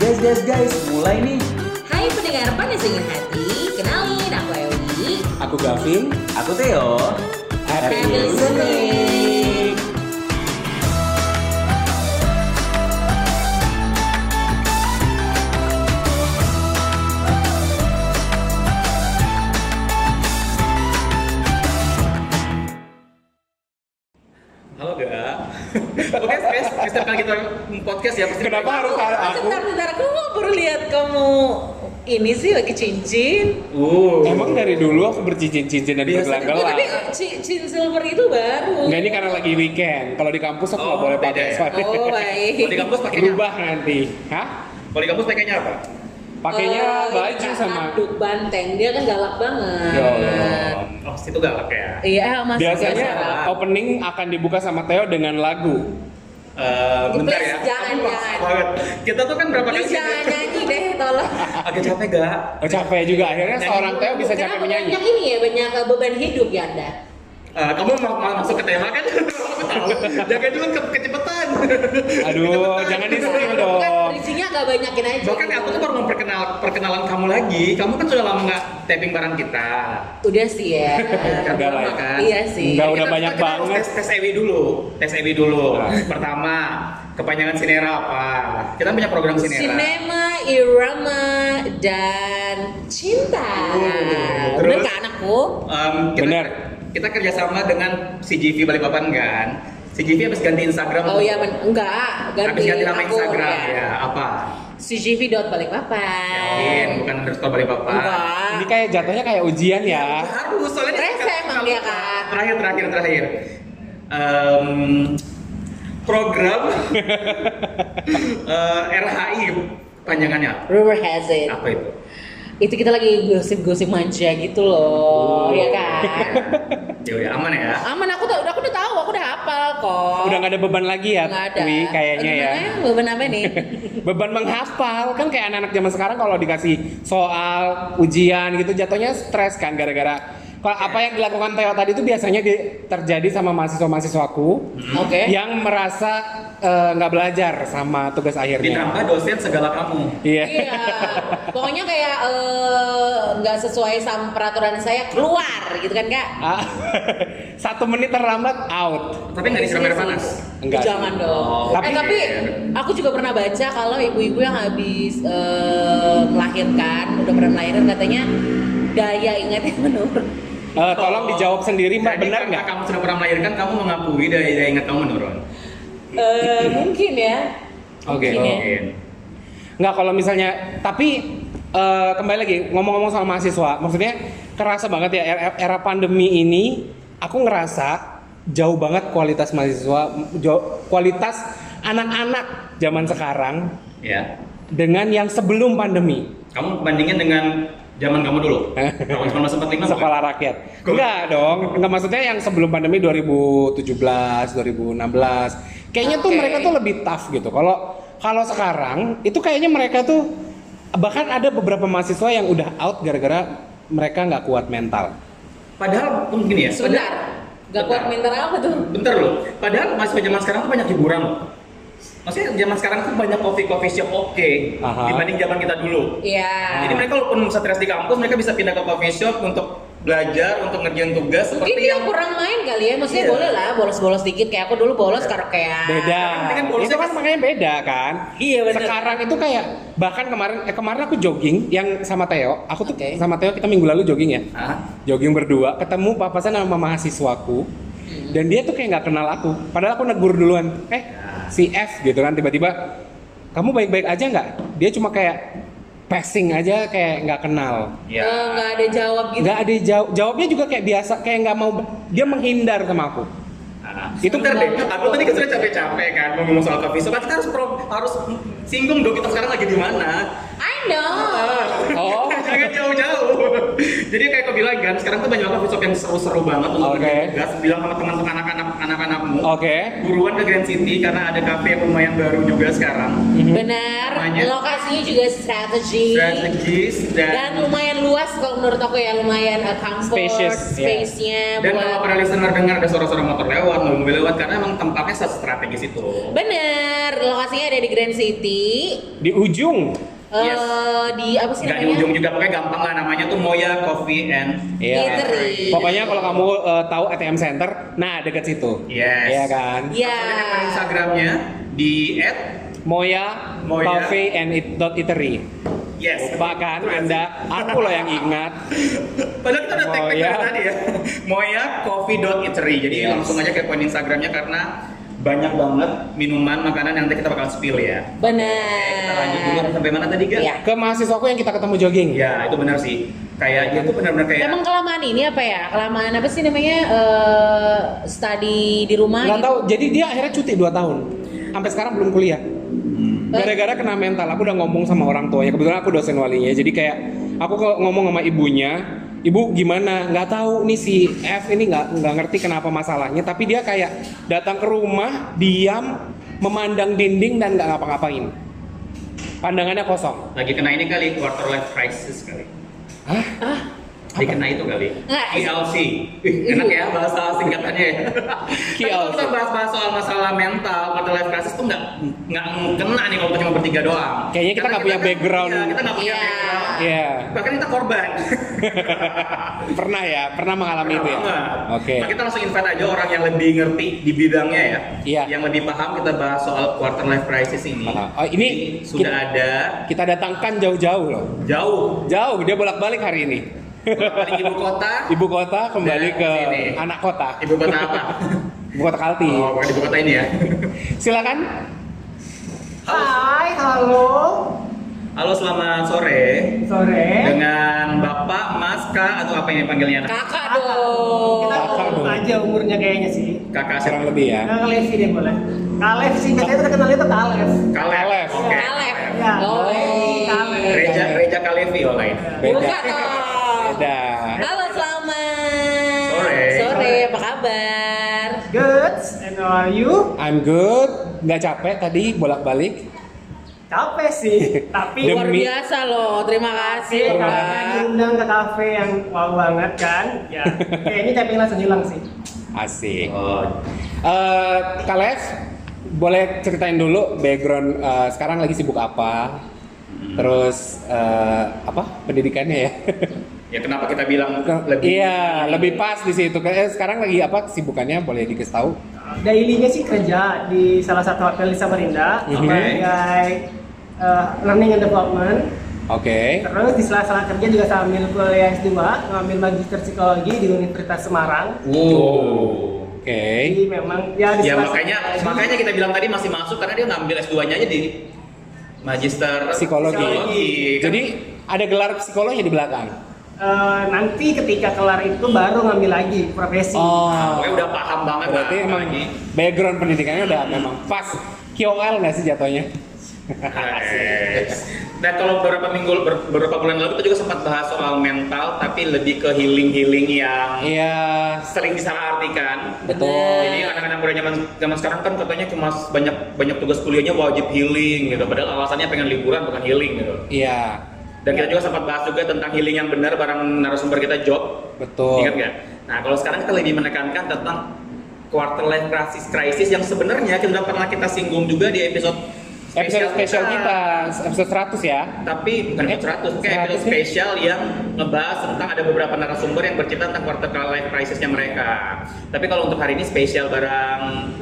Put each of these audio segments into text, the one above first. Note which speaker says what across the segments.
Speaker 1: Podcast guys, mulai nih.
Speaker 2: Hai pendengar panas dingin hati, kenalin aku Ewi.
Speaker 1: Aku Gavin, aku Theo.
Speaker 2: Happy listening.
Speaker 3: Halo gak? Oke, guys, setiap kali kita podcast ya pasti
Speaker 4: Kenapa harus ada aku?
Speaker 2: Bentar, bentar, aku mau baru lihat kamu ini sih lagi cincin.
Speaker 3: Uh.
Speaker 4: Emang dari dulu aku bercincin-cincin dan
Speaker 3: Biasa
Speaker 4: bergelang-gelang.
Speaker 2: Tapi eh, ci- cincin silver itu baru.
Speaker 4: Enggak ini karena lagi weekend. Kalau di kampus aku nggak
Speaker 3: Oh,
Speaker 4: boleh
Speaker 3: beda
Speaker 4: pakai
Speaker 3: ya?
Speaker 4: soalnya
Speaker 2: Oh
Speaker 3: Kalau di
Speaker 2: baik.
Speaker 3: kampus pakainya? apa?
Speaker 4: berubah nanti. Hah?
Speaker 3: Kalau di kampus pakainya apa?
Speaker 4: Pakainya
Speaker 2: Eh,
Speaker 4: baju
Speaker 2: ini
Speaker 4: sama.
Speaker 2: Aduk banteng, dia kan galak banget.
Speaker 4: Yo.
Speaker 3: Oh, situ galak ya.
Speaker 2: Iya, masih
Speaker 4: Biasanya
Speaker 2: biasa.
Speaker 4: opening akan dibuka sama Theo dengan lagu.
Speaker 3: Eh, bentar
Speaker 2: Please,
Speaker 3: ya.
Speaker 2: jangan,
Speaker 3: Aku
Speaker 2: jangan.
Speaker 3: maksa banget. Kita tuh kan berapa kali
Speaker 2: Please jangan nyanyi deh, tolong.
Speaker 3: Agak capek gak?
Speaker 4: Oh, capek juga akhirnya seorang Theo bisa capek
Speaker 2: Kenapa
Speaker 4: menyanyi.
Speaker 2: Banyak ini ya, banyak eh, beban hidup ya Anda.
Speaker 3: Eh, kamu mau, mau masuk ke tema kan? Aku tahu. Jangan dulu ke kecepatan.
Speaker 4: Aduh, jangan di
Speaker 2: Kan
Speaker 4: spill dong.
Speaker 2: Bridging-nya agak banyakin aja.
Speaker 3: Bahkan kan aku tuh baru memperkenal perkenalan kamu lagi. Kamu kan sudah lama nggak taping bareng kita.
Speaker 2: Udah sih ya.
Speaker 3: Kan
Speaker 4: Udah lah ya.
Speaker 3: lama kan?
Speaker 2: Iya sih.
Speaker 4: Enggak, udah
Speaker 3: Kita-
Speaker 4: banyak
Speaker 3: kita harus
Speaker 4: banget.
Speaker 3: Tes, tes EW dulu, tes EW dulu.
Speaker 4: Nah.
Speaker 3: Pertama, kepanjangan sinera apa? Kita punya program sinera.
Speaker 2: Sinema, irama, dan cinta.
Speaker 3: Uh,
Speaker 2: Bener
Speaker 3: terus?
Speaker 2: kan aku?
Speaker 3: Em, kita,
Speaker 4: Bener.
Speaker 3: Kita kerjasama dengan CGV Balikpapan kan. CGV habis ganti Instagram.
Speaker 2: Oh iya, men- enggak.
Speaker 3: habis
Speaker 2: Ganti,
Speaker 3: ganti nama
Speaker 2: aku.
Speaker 3: Instagram ya.
Speaker 2: ya.
Speaker 3: Apa? Yakin,
Speaker 2: CGV.balikpapan.
Speaker 3: bukan underscore Balikpapan.
Speaker 2: Enggak.
Speaker 4: Ini kan kayak jatuhnya kayak ujian ya.
Speaker 3: Harus soalnya
Speaker 2: Stres
Speaker 3: kalau-
Speaker 2: emang
Speaker 3: kalau-
Speaker 2: dia, kan? Kak.
Speaker 3: Terakhir terakhir terakhir. Em, program eh, RHI panjangannya
Speaker 2: Rumor has it.
Speaker 3: apa itu?
Speaker 2: Itu kita lagi gosip-gosip manja gitu loh, ya kan?
Speaker 3: Ya udah aman ya.
Speaker 2: aman aku tuh udah aku udah tahu aku udah hafal kok
Speaker 4: Udah nggak ada beban lagi ya,
Speaker 2: Oh. Nggak
Speaker 4: Wi, kayaknya ya.
Speaker 2: Gimana beban apa nih
Speaker 4: beban menghafal kan kayak anak-anak zaman sekarang kalau dikasih soal ujian gitu jatuhnya stres kan gara-gara kalau apa yang dilakukan Theo tadi itu biasanya di- terjadi sama mahasiswa-mahasiswaku
Speaker 2: oke
Speaker 4: yang merasa eh, nggak belajar sama tugas akhirnya.
Speaker 3: Ditambah dosen segala kamu.
Speaker 4: Iya.
Speaker 2: iya pokoknya kayak eh, nggak sesuai sama peraturan saya keluar gitu kan kak
Speaker 4: Ah, Satu menit terlambat out.
Speaker 3: Tapi nggak disiram air panas.
Speaker 4: Enggak.
Speaker 2: Jangan dong.
Speaker 3: Oh,
Speaker 2: eh,
Speaker 3: oke.
Speaker 2: tapi aku juga pernah baca kalau ibu-ibu yang habis eh, melahirkan, udah pernah melahirkan katanya daya ingatnya menurun.
Speaker 4: Eh, tolong dijawab sendiri Mbak,
Speaker 3: Oh. Jadi kan
Speaker 4: benar
Speaker 3: karena
Speaker 4: nggak?
Speaker 3: kamu sudah pernah melahirkan, kamu mengakui daya daya ingat kamu menurun.
Speaker 2: Eh, mungkin ya.
Speaker 4: Oke.
Speaker 2: Mungkin ya.
Speaker 3: Mungkin.
Speaker 4: Nggak kalau misalnya, tapi eh, kembali lagi ngomong-ngomong soal mahasiswa, maksudnya kerasa banget ya era, era pandemi ini, aku ngerasa jauh banget kualitas mahasiswa, jauh, kualitas anak-anak zaman sekarang
Speaker 3: Ya.
Speaker 4: dengan yang sebelum pandemi
Speaker 3: Kamu bandingin dengan zaman kamu dulu. Tahun 1945 bukan?
Speaker 4: sekolah rakyat. Enggak dong, enggak maksudnya yang sebelum pandemi 2017, 2016. Kayaknya tuh
Speaker 2: Oke.
Speaker 4: mereka tuh lebih tough gitu. Kalau kalau sekarang itu kayaknya mereka tuh bahkan ada beberapa mahasiswa yang udah out gara-gara mereka nggak kuat mental.
Speaker 3: Padahal pun gini ya.
Speaker 2: Sebentar.
Speaker 3: padahal-
Speaker 2: Gak kuat
Speaker 3: Bentar.
Speaker 2: mental apa tuh?
Speaker 3: Bentar loh. Padahal masih zaman sekarang tuh banyak hiburan loh. Maksudnya zaman sekarang tuh banyak coffee coffee shop oke
Speaker 4: Aha.
Speaker 3: dibanding zaman kita dulu.
Speaker 2: Iya.
Speaker 3: Jadi mereka walaupun stres di kampus, mereka bisa pindah ke coffee shop untuk belajar, untuk ngerjain tugas
Speaker 2: Mungkin
Speaker 3: seperti
Speaker 2: dia
Speaker 3: yang
Speaker 2: kurang main kali ya, maksudnya
Speaker 3: Iya.
Speaker 2: boleh lah bolos-bolos dikit kayak aku dulu bolos karaokean.
Speaker 4: Beda.
Speaker 3: Sekarang kan polisi
Speaker 4: Itu kan
Speaker 3: kan-
Speaker 4: makanya beda kan.
Speaker 2: Iya, bener.
Speaker 4: Sekarang itu kayak bahkan kemarin eh, kemarin aku jogging yang sama Theo, aku tuh
Speaker 2: Oke.
Speaker 4: sama Theo kita minggu lalu jogging ya.
Speaker 3: Hah?
Speaker 4: jogging berdua ketemu papasan sama mahasiswaku dan dia tuh kayak nggak kenal aku padahal aku negur duluan eh si F gitu kan tiba-tiba kamu baik-baik aja nggak dia cuma kayak passing aja kayak nggak kenal
Speaker 3: Ya.
Speaker 2: Eh, nggak ada jawab gitu.
Speaker 4: Iya. nggak ada jawab jawabnya juga kayak biasa kayak nggak mau dia menghindar sama aku
Speaker 3: Ah,
Speaker 4: Itu
Speaker 3: itu ntar deh. Aku tadi kan sudah capek-capek kan mau ngomong soal coffee shop. Kita harus pro- harus singgung dong kita sekarang lagi di mana.
Speaker 2: I know.
Speaker 4: oh
Speaker 3: Jangan jauh-jauh. Jadi kayak aku bilang kan, sekarang tuh banyak banget coffee shop yang seru-seru banget untuk
Speaker 4: Oke.
Speaker 3: ngerjain tugas. Bilang sama teman-teman anak-anak anak-anakmu.
Speaker 4: oke
Speaker 3: Buruan ke Grand City karena ada cafe yang lumayan baru juga sekarang.
Speaker 2: Benar.
Speaker 3: Namanya.
Speaker 2: Lokasinya juga strategi.
Speaker 3: Strategis dan
Speaker 2: Dan lumayan luas kalau menurut aku ya lumayan eh, comfort
Speaker 4: Spacious, ya.
Speaker 2: space-nya
Speaker 3: dan kalau
Speaker 2: buat
Speaker 3: para listener dengar ada suara-suara motor lewat, mobil lewat karena emang tempatnya strategis itu.
Speaker 2: Bener, lokasinya ada di Grand City.
Speaker 4: di ujung
Speaker 2: eh,
Speaker 3: Yes.
Speaker 2: di apa sih
Speaker 3: Nggak di
Speaker 2: namanya?
Speaker 3: ujung juga pokoknya gampang lah namanya tuh Moya Coffee and
Speaker 2: Eatery.
Speaker 4: Iya. Pokoknya kalau kamu eh, tahu ATM Center, nah deket situ.
Speaker 3: Yes.
Speaker 4: Iya kan?
Speaker 2: Iya.
Speaker 3: Follow dengan Instagramnya di at
Speaker 4: Moya,
Speaker 3: Moya.
Speaker 4: Cafe and Eat dot Eatery.
Speaker 3: yes.
Speaker 4: Lupa kan
Speaker 3: Terus.
Speaker 4: Anda? Aku loh yang ingat.
Speaker 3: Padahal kita udah tag tag
Speaker 4: Moya.
Speaker 3: tadi ya. Moya Coffee dot Eatery. Jadi
Speaker 4: Yes.
Speaker 3: langsung aja kepoin Instagramnya karena banyak banget minuman makanan yang nanti kita bakal spill ya. Oke,
Speaker 2: Benar.
Speaker 3: kita lanjut dulu sampai mana tadi kan?
Speaker 2: Iya.
Speaker 4: Ke mahasiswaku yang kita ketemu jogging.
Speaker 3: Ya itu benar sih. Kayak dia tuh benar-benar kayak
Speaker 2: Emang kelamaan ini apa ya? Kelamaan apa sih namanya? eh study di rumah
Speaker 4: Nggak
Speaker 2: gitu.
Speaker 4: tahu. Jadi dia akhirnya cuti 2 tahun. Sampai sekarang belum kuliah.
Speaker 2: Eh,
Speaker 4: Gara-gara kena mental. Aku udah ngomong sama orang tuanya. Kebetulan aku dosen walinya. Jadi kayak aku kalau ngomong sama ibunya, Ibu gimana? Nggak tahu nih si F ini nggak nggak ngerti kenapa masalahnya. Tapi dia kayak datang ke rumah, diam, memandang dinding dan nggak ngapa-ngapain. Pandangannya kosong.
Speaker 3: lagi kena ini kali quarter life crisis kali.
Speaker 4: Hah?
Speaker 3: Dia kena itu kali.
Speaker 2: Nggak.
Speaker 3: KLC. Wih, enak ya bahasa singkatannya ya. Tapi kalau
Speaker 4: KLC.
Speaker 3: kita bahas-bahas soal masalah mental, quarter life crisis tuh nggak nggak kena nih kalau kita cuma bertiga doang.
Speaker 4: Kayaknya kita
Speaker 3: Karena
Speaker 4: nggak punya
Speaker 3: kan-
Speaker 4: background.
Speaker 3: Iya, kita nggak punya
Speaker 2: Iya.
Speaker 3: background.
Speaker 4: Iya.
Speaker 3: Bahkan kita korban.
Speaker 4: Pernah ya? Pernah mengalami itu ya?
Speaker 3: Nggak.
Speaker 4: Oke.
Speaker 3: Nah, kita langsung invite aja orang yang lebih ngerti di bidangnya ya.
Speaker 4: Iya.
Speaker 3: Yang lebih paham kita bahas soal quarter life crisis ini.
Speaker 4: Paham. Oh, ini
Speaker 3: Jadi, sudah ada
Speaker 4: Kita datangkan jauh-jauh loh.
Speaker 3: jauh
Speaker 4: Jauh, dia bolak-balik hari ini.
Speaker 3: Paling ibu kota
Speaker 4: Ibu kota kembali
Speaker 3: Nah,
Speaker 4: ke
Speaker 3: sini.
Speaker 4: anak kota.
Speaker 3: ibu kota apa
Speaker 4: Ibu kota Kalti.
Speaker 3: oh bukan ibu kota ini ya
Speaker 4: Silakan.
Speaker 5: Hai, halo,
Speaker 3: halo selamat sore
Speaker 5: sore.
Speaker 3: dengan bapak mas kak atau apa ini panggilnya
Speaker 2: Kakak
Speaker 5: Kita
Speaker 2: dong.
Speaker 4: Kakak
Speaker 5: ngomong
Speaker 4: dong.
Speaker 5: aja umurnya kayaknya sih.
Speaker 3: kakak
Speaker 4: Kurang lebih ya.
Speaker 5: Nah, Kalef sih deh boleh. Kalef sih, biasanya kita kenalnya tuh Kalef.
Speaker 3: kalef
Speaker 4: Kalef.
Speaker 3: oke
Speaker 2: Kalef.
Speaker 3: Iya.
Speaker 5: Ya,
Speaker 2: Oh.
Speaker 5: Kalef, Kalef.
Speaker 3: reja reja kalevi orang lain
Speaker 4: Beda.
Speaker 2: Buka dong.
Speaker 4: Beda.
Speaker 2: Halo, selamat.
Speaker 3: Sore.
Speaker 2: Sore, apa kabar?
Speaker 5: Good, and how are you?
Speaker 4: I'm good. Nggak capek tadi bolak-balik.
Speaker 5: Capek sih, tapi
Speaker 2: Luar
Speaker 4: Demi- Iya.
Speaker 2: biasa loh. Terima
Speaker 5: tapi
Speaker 2: kasih,
Speaker 5: karena
Speaker 2: Pak.
Speaker 5: diundang ke kafe yang wow banget kan, ya kayaknya capek langsung hilang sih.
Speaker 4: Asik.
Speaker 3: oh
Speaker 4: Eh, Kalev, boleh ceritain dulu background eh, sekarang lagi sibuk apa? Terus eh, apa pendidikannya ya?
Speaker 3: ya kenapa kita bilang lebih
Speaker 4: Iya, lebih pas di situ. Eh, sekarang lagi apa kesibukannya? Boleh dikasih tahu?
Speaker 5: Dailynya sih kerja di salah satu hotel di Samarinda
Speaker 4: Mhm.
Speaker 5: sebagai eh, learning and development.
Speaker 4: Oke.
Speaker 5: Terus di sela-sela kerja juga sambil kuliah S2, ngambil magister psikologi di Universitas Semarang.
Speaker 3: Wow.
Speaker 4: Oke.
Speaker 5: Jadi memang ya di
Speaker 3: Ya
Speaker 5: sela-sela
Speaker 3: makanya
Speaker 5: kerja.
Speaker 3: makanya kita bilang tadi masih masuk karena dia ngambil S2-nya aja di magister
Speaker 4: Psikologi.
Speaker 3: Kan
Speaker 4: Jadi ada gelar psikolognya di belakang.
Speaker 5: Eh, nanti ketika kelar itu baru ngambil lagi profesi.
Speaker 4: Oh.
Speaker 3: pokoknya ya udah paham banget lah,
Speaker 4: Berarti emang
Speaker 3: apalagi.
Speaker 4: background pendidikannya udah memang pas. KOL nggak sih jatuhnya?
Speaker 3: Yes. Dan kalau beberapa minggu ber- beberapa bulan lalu kita juga sempat bahas soal mental tapi lebih ke healing-healing yang
Speaker 4: Iya.
Speaker 3: sering disalah artikan.
Speaker 4: Betul.
Speaker 3: Jadi anak-anak muda zaman zaman sekarang kan katanya cuma banyak banyak tugas kuliahnya wajib healing gitu. Padahal alasannya pengen liburan bukan healing gitu.
Speaker 4: Iya.
Speaker 3: Dan kita juga sempat bahas juga tentang healing yang benar bareng narasumber kita Job.
Speaker 4: Betul.
Speaker 3: Ingat nggak? Nah kalau sekarang kita lebih menekankan tentang quarter life crisis crisis yang sebenarnya kita udah pernah kita singgung juga di episode
Speaker 4: Episode spesial kita, episode 100 ya.
Speaker 3: tapi
Speaker 4: Eh,
Speaker 3: bukan episode 100,
Speaker 4: 100
Speaker 3: kayak episode
Speaker 4: sih.
Speaker 3: spesial yang ngebahas tentang ada beberapa narasumber yang bercerita tentang quarter life crisisnya mereka. Tapi kalau untuk hari ini spesial barang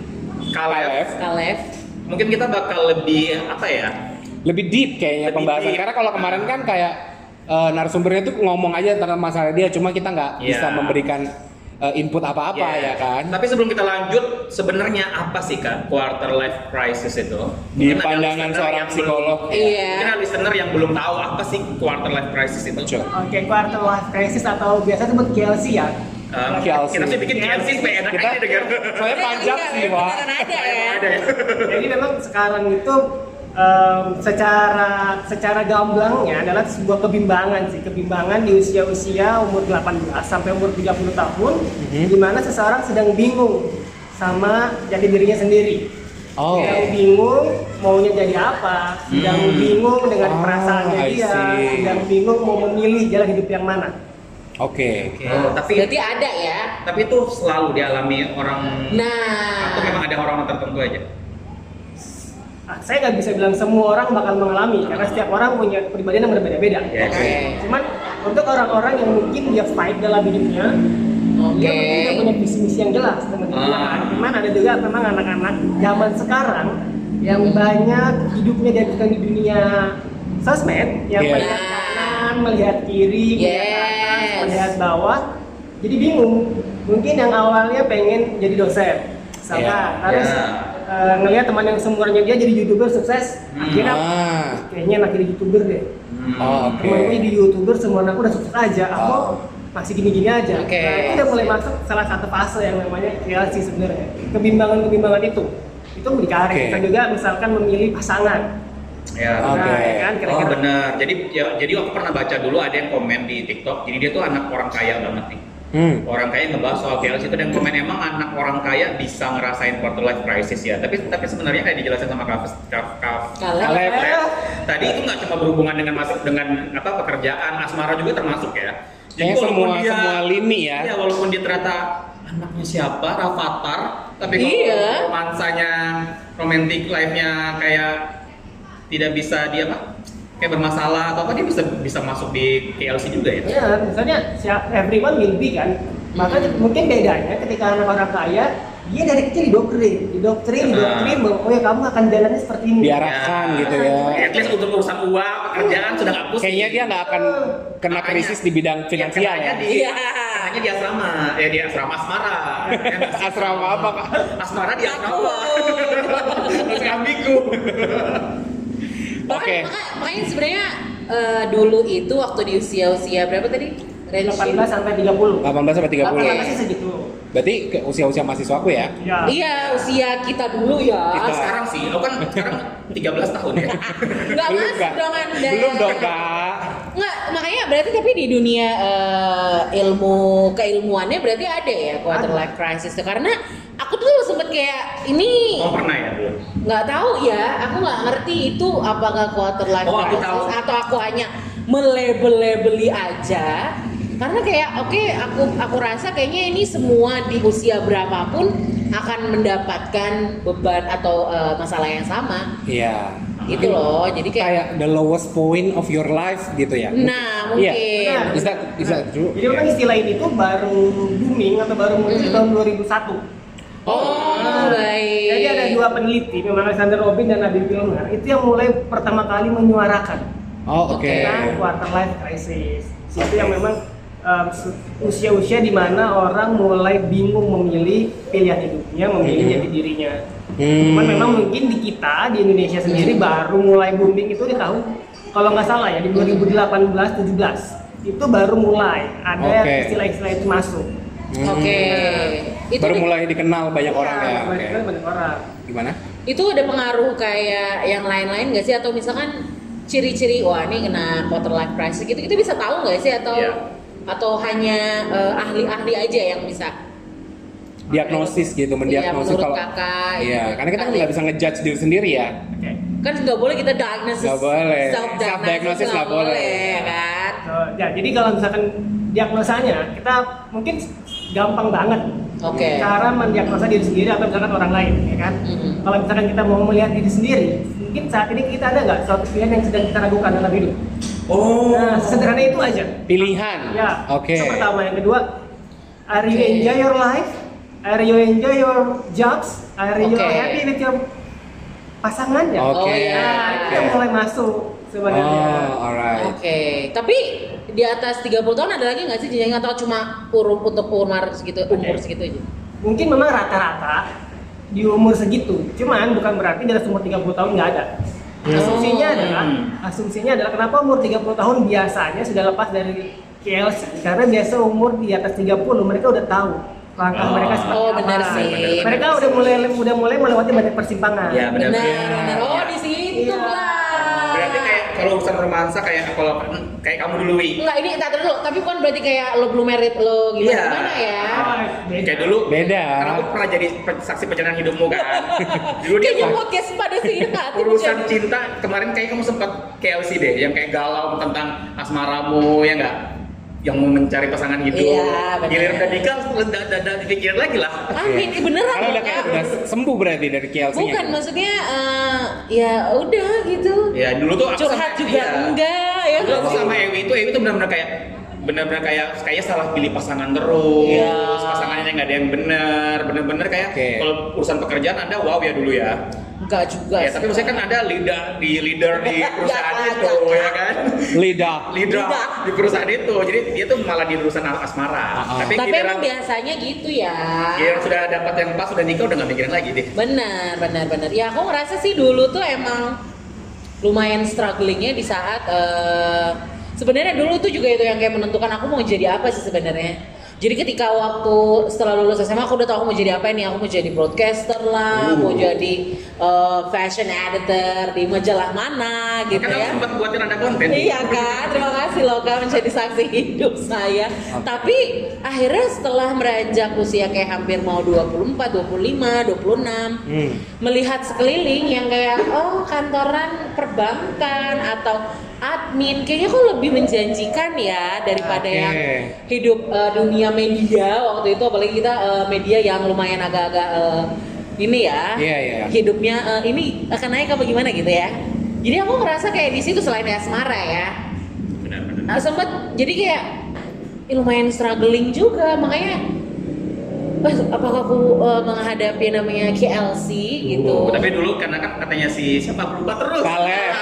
Speaker 4: Kalef.
Speaker 3: Kalef,
Speaker 2: Kalef.
Speaker 3: mungkin kita bakal lebih apa ya?
Speaker 4: Lebih deep kayaknya
Speaker 3: Lebih
Speaker 4: pembahasan.
Speaker 3: deep.
Speaker 4: Karena kalau kemarin kan kayak eh, narasumbernya tuh ngomong aja tentang masalah dia, cuma kita nggak
Speaker 3: Iya.
Speaker 4: bisa memberikan eh, input apa-apa ya kan.
Speaker 3: Tapi sebelum kita lanjut, sebenarnya apa sih kak quarter life crisis itu?
Speaker 4: Di
Speaker 3: Mungkin ada
Speaker 4: pandangan
Speaker 3: listener
Speaker 4: seorang
Speaker 3: yang
Speaker 4: psikolog.
Speaker 3: belum-
Speaker 2: Iya.
Speaker 3: Mungkin ada listener yang belum tahu apa sih quarter life crisis itu.
Speaker 4: Betul.
Speaker 5: Oke, quarter life crisis atau biasa disebut KLC ya.
Speaker 3: Eh,
Speaker 4: KLC.
Speaker 3: Kita sih bikin KLC supaya enak
Speaker 4: Kita-
Speaker 3: aja dengar.
Speaker 4: Soalnya panjang
Speaker 2: Iya,
Speaker 4: sih, Wak.
Speaker 2: beneran ada ya.
Speaker 3: Ada ya?
Speaker 5: Jadi memang sekarang itu em, secara secara gamblangnya adalah sebuah kebimbangan sih, kebimbangan di usia-usia umur 18 sampai umur 30 tahun
Speaker 3: Mhm.
Speaker 5: di mana seseorang sedang bingung sama jati dirinya sendiri.
Speaker 4: Oh.
Speaker 5: Sedang bingung maunya jadi apa, sedang bingung dengan
Speaker 4: Ah,
Speaker 5: perasaannya
Speaker 4: I
Speaker 5: dia,
Speaker 4: see.
Speaker 5: sedang bingung mau memilih jalan hidup yang mana.
Speaker 4: Oke.
Speaker 3: Oh, tapi
Speaker 2: Berarti ada ya.
Speaker 3: tapi itu selalu dialami orang
Speaker 2: Nah,
Speaker 3: atau memang ada orang tertentu aja
Speaker 5: ah, saya nggak bisa bilang semua orang bakal mengalami karena setiap orang punya kepribadian yang berbeda-beda.
Speaker 3: Yes.
Speaker 2: Oke.
Speaker 5: Cuman untuk orang-orang yang mungkin dia fight dalam hidupnya,
Speaker 4: Iya,
Speaker 5: dia mungkin
Speaker 2: Oke.
Speaker 5: nggak punya visi misi yang jelas teman
Speaker 3: Ah.
Speaker 5: Cuman ada juga memang anak-anak zaman sekarang yang banyak hidupnya dihabiskan di dunia sosmed, yang
Speaker 4: Iya.
Speaker 5: melihat kanan, melihat kiri, melihat atas,
Speaker 2: Yes.
Speaker 5: melihat bawah, jadi bingung. Mungkin yang awalnya pengen jadi dosen, misalkan
Speaker 4: Iya.
Speaker 5: harus
Speaker 1: Iya.
Speaker 5: eh, ngelihat teman yang seumurnya dia jadi youtuber sukses, akhirnya
Speaker 4: Ah.
Speaker 5: kayaknya anak jadi youtuber deh.
Speaker 4: Oh, oke.
Speaker 5: Temen gue jadi youtuber semua anak udah sukses aja, aku
Speaker 4: Oh.
Speaker 5: masih gini-gini aja.
Speaker 2: Oke.
Speaker 5: Nah, itu udah mulai masuk salah satu fase yang namanya kreasi sebenarnya. Kebimbangan-kebimbangan itu, itu mencari.
Speaker 4: Oke.
Speaker 5: Kita juga misalkan memilih pasangan.
Speaker 3: Ya.
Speaker 4: Oke.
Speaker 5: Nah, ya kan
Speaker 3: Oh
Speaker 5: kira-kira.
Speaker 3: benar. Jadi ya, jadi aku pernah baca dulu ada yang komen di TikTok. Jadi dia tuh anak orang kaya banget nih.
Speaker 4: Hmm.
Speaker 3: Orang kaya ngebahas soal VLC itu dan komen emang anak orang kaya bisa ngerasain quarter life crisis ya. Tapi tapi sebenarnya kayak dijelasin sama Kak Kak- Kak-
Speaker 2: Kalau
Speaker 4: Kaleb.
Speaker 5: Eh,
Speaker 3: tadi itu nggak cuma berhubungan dengan masuk dengan apa pekerjaan asmara juga termasuk ya
Speaker 4: Kayaknya semua semua lini ya.
Speaker 3: iya, walaupun dia ternyata anaknya siapa Rafathar tapi kalau
Speaker 2: Iya.
Speaker 3: romansanya romantic life-nya kayak tidak bisa dia apa kayak bermasalah atau apa dia bisa bisa masuk di KLC juga
Speaker 4: Iya.
Speaker 3: ya
Speaker 5: Ya, misalnya siap everyone will be kan. Maka mungkin bedanya ketika anak orang kaya, dia dari kecil didoktrin, didoktrin, didoktrin bahwa oh ya kamu akan jalannya seperti ini.
Speaker 4: Diarahkan gitu ya.
Speaker 3: at least untuk urusan uang pekerjaan sudah nggak pusing
Speaker 4: Kayaknya dia nggak akan kena krisis di bidang finansial
Speaker 3: Kenanya
Speaker 4: ya.
Speaker 3: di,
Speaker 2: Iya.
Speaker 3: kenanya di asrama, ya di asrama asmara. Ya nggak sih?
Speaker 4: Asrama apa, Kak?
Speaker 3: Asmara di asrama. Terus ambigu.
Speaker 2: Bahkan,
Speaker 4: Oke.
Speaker 2: maka- makanya sebenarnya eh, dulu itu waktu di usia-usia berapa tadi?
Speaker 5: Dari
Speaker 2: Range
Speaker 5: 18 sampai 30.
Speaker 4: 18 sampai 30.
Speaker 5: Rata-rata sih segitu.
Speaker 4: Berarti ke usia-usia mahasiswa aku ya.
Speaker 5: Ya.
Speaker 2: Iya, usia kita dulu ya.
Speaker 3: Ah, sekarang sih, aku kan sekarang 13 tahun ya.
Speaker 2: Enggak
Speaker 4: Belum,
Speaker 2: masuk
Speaker 4: Kak.
Speaker 2: dong Anda.
Speaker 4: Belum dong, Kak.
Speaker 2: Nggak, makanya berarti tapi di dunia eh, ilmu keilmuannya berarti ada ya quarter
Speaker 5: Ada.
Speaker 2: life crisis tuh. karena aku tuh sempet kayak ini
Speaker 3: Oh pernah ya dulu.
Speaker 2: nggak tahu ya aku nggak ngerti itu apakah quarter life
Speaker 3: Oh, aku
Speaker 2: crisis
Speaker 3: tahu.
Speaker 2: atau aku hanya melebel-lebeli aja karena kayak oke aku aku rasa kayaknya ini semua di usia berapapun akan mendapatkan beban atau eh, masalah yang sama
Speaker 4: Iya.
Speaker 2: gitu loh jadi kayak
Speaker 4: Kayak the lowest point of your life gitu ya.
Speaker 2: nah
Speaker 4: Iya.
Speaker 2: mungkin
Speaker 5: Nah,
Speaker 4: Is that is that true?
Speaker 5: Jadi memang istilah ini tuh baru booming atau baru muncul
Speaker 4: Hmm.
Speaker 5: tahun 2001.
Speaker 2: oh baik
Speaker 5: ah." Jadi ada dua peneliti, memang Alexander Robin dan Nabil Pilner, itu yang mulai pertama kali menyuarakan
Speaker 4: Oh, oke.
Speaker 2: Oke.
Speaker 5: tentang quarter life crisis. Itu yang memang um, se- usia-usia di mana orang mulai bingung memilih pilihan hidupnya, memilih
Speaker 4: Hmm.
Speaker 5: jati dirinya.
Speaker 4: Hmm.
Speaker 5: Cuman memang mungkin di kita di Indonesia sendiri baru mulai booming itu di tahun kalau nggak salah ya di 2018-17 itu baru mulai ada
Speaker 4: Oke.
Speaker 5: istilah-istilah itu masuk.
Speaker 4: Hmm.
Speaker 2: oke itu
Speaker 4: Baru mulai dikenal banyak orang ya.
Speaker 5: Iya,
Speaker 4: Oke.
Speaker 5: banyak- banyak orang.
Speaker 4: Gimana?
Speaker 2: itu ada pengaruh kayak yang lain-lain nggak sih atau misalkan ciri-ciri wah ini kena quarter life crisis gitu kita bisa tahu nggak sih atau
Speaker 3: Iya.
Speaker 2: atau hanya eh, ahli-ahli aja yang bisa
Speaker 4: Diagnosis gitu,
Speaker 2: Iya,
Speaker 4: mendiagnosis
Speaker 2: menurut
Speaker 4: kalau
Speaker 2: kakak,
Speaker 4: Iya,
Speaker 2: gitu.
Speaker 4: karena kita
Speaker 2: Ahli.
Speaker 4: nggak bisa ngejudge diri sendiri ya.
Speaker 5: Oke.
Speaker 2: kan nggak boleh kita diagnosis
Speaker 4: Nggak boleh. Self-diagnosis
Speaker 2: nggak
Speaker 4: nggak boleh.
Speaker 2: ya kan
Speaker 5: So, ya, jadi kalau misalkan diagnosanya kita mungkin gampang banget
Speaker 2: oke
Speaker 4: Iya.
Speaker 5: cara mendiagnosa diri sendiri atau misalkan orang lain, ya kan?
Speaker 2: Mhm.
Speaker 5: Kalau misalkan kita mau melihat diri sendiri, mungkin saat ini kita ada nggak suatu pilihan yang sedang kita ragukan dalam hidup?
Speaker 3: Oh.
Speaker 5: Nah, sederhana itu aja.
Speaker 4: Pilihan.
Speaker 5: Ya.
Speaker 4: Oke.
Speaker 5: Itu pertama, yang kedua, are you
Speaker 2: Oke.
Speaker 5: enjoy your life? Are you enjoy your jobs? Are you
Speaker 2: Oke.
Speaker 5: happy with your pasangan ya?
Speaker 2: Oh,
Speaker 4: Oke.
Speaker 2: iya.
Speaker 5: Nah, itu yang
Speaker 4: Oke.
Speaker 5: mulai masuk sebenarnya.
Speaker 4: Oh, alright.
Speaker 2: Oke, tapi di atas 30 tahun ada lagi nggak sih jenjangnya atau cuma urut untuk umur segitu umur segitu aja?
Speaker 5: Mungkin memang rata-rata di umur segitu. Cuman bukan berarti dari umur 30 tahun nggak ada. Asumsinya
Speaker 2: Oh.
Speaker 5: adalah asumsinya adalah kenapa umur 30 tahun biasanya sudah lepas dari KLC karena biasa umur di atas 30 mereka udah tahu langkah
Speaker 3: Oh.
Speaker 5: mereka seperti
Speaker 2: Oh,
Speaker 5: apa.
Speaker 2: benar sih.
Speaker 5: Mereka udah mulai udah mulai melewati banyak persimpangan.
Speaker 3: Ya
Speaker 2: Benar,
Speaker 3: benar.
Speaker 2: benar. Oh, di situ
Speaker 5: Iya.
Speaker 2: lah.
Speaker 3: Berarti kayak kalau urusan romansa kayak kalau kayak kamu dulu Wi.
Speaker 2: Enggak, ini tak dulu, tapi bukan berarti kayak lo belum merit lo gimana
Speaker 3: Iya.
Speaker 2: gimana ya.
Speaker 5: Ah,
Speaker 3: Kayak dulu
Speaker 4: Beda.
Speaker 3: Karena aku pernah jadi pe- saksi perjalanan hidupmu kan. dulu dia
Speaker 2: Kayaknya podcast pada sih kan.
Speaker 3: urusan cinta kemarin kayak kamu sempat KLC deh yang kayak galau tentang asmaramu ya enggak yang mau mencari pasangan gitu.
Speaker 2: Iya, benar.
Speaker 3: Giliran udah nikah udah udah dipikirin lagi lah.
Speaker 2: Amin,
Speaker 3: Iya.
Speaker 2: eh, beneran
Speaker 4: Kalau udah
Speaker 2: ya.
Speaker 4: kayak udah sembuh berarti dari KLC-nya.
Speaker 2: Bukan maksudnya eh, ya udah gitu.
Speaker 3: Ya dulu tuh aku
Speaker 2: Curhat
Speaker 3: sama-
Speaker 2: juga
Speaker 3: iya.
Speaker 2: enggak ya.
Speaker 3: Dulu aku sama Ewi itu Ewi itu benar-benar kayak benar-benar kayak kayak salah pilih pasangan terus
Speaker 2: Iya.
Speaker 3: pasangannya nggak ada yang benar benar-benar kayak
Speaker 4: Oke.
Speaker 3: kalau urusan pekerjaan anda wow ya dulu ya
Speaker 2: Enggak juga.
Speaker 3: ya
Speaker 2: sih.
Speaker 3: tapi maksudnya kan ada leader di leader di
Speaker 2: Ya,
Speaker 3: perusahaan
Speaker 2: ya,
Speaker 3: itu
Speaker 2: ya.
Speaker 3: ya kan
Speaker 4: Lidah.
Speaker 3: leader
Speaker 2: Lidah.
Speaker 3: di perusahaan itu jadi dia tuh malah di urusan asmara
Speaker 4: Ah, ah.
Speaker 3: tapi,
Speaker 2: Tapi
Speaker 3: giliran
Speaker 2: emang biasanya gitu ya.
Speaker 3: giliran sudah dapat yang pas sudah nikah udah nggak mikirin lagi deh
Speaker 2: Benar, benar, benar. Ya aku ngerasa sih dulu tuh emang lumayan strugglingnya di saat eh, sebenarnya dulu tuh juga itu yang kayak menentukan aku mau jadi apa sih sebenarnya. Jadi ketika waktu setelah lulus SMA aku udah tahu aku mau jadi apa nih. Aku mau jadi broadcaster lah,
Speaker 3: Uh.
Speaker 2: mau jadi eh, fashion editor di majalah mana gitu
Speaker 3: kan aku
Speaker 2: ya.
Speaker 3: sempat buatin ada konten
Speaker 2: Iya kan, terima kasih loh Kak menjadi saksi hidup saya. Tapi akhirnya setelah meranjak usia kayak hampir mau 24, 25, 26,
Speaker 4: Hmm.
Speaker 2: melihat sekeliling yang kayak oh kantoran perbankan atau admin kayaknya kok lebih menjanjikan ya daripada
Speaker 4: Oke.
Speaker 2: yang hidup eh, dunia media waktu itu apalagi kita eh, media yang lumayan agak-agak eh, ini ya
Speaker 4: Iya, iya.
Speaker 2: hidupnya eh, ini akan naik apa gimana gitu ya jadi aku ngerasa kayak di situ selain asmara ya
Speaker 3: benar-benar
Speaker 2: nah, sempet jadi kayak "Ih, lumayan struggling juga makanya "Wah, apakah aku eh, menghadapi yang namanya KLC gitu
Speaker 4: Uh,
Speaker 3: Oh, tapi dulu karena kan katanya si siapa berubah terus.
Speaker 4: Kaleb.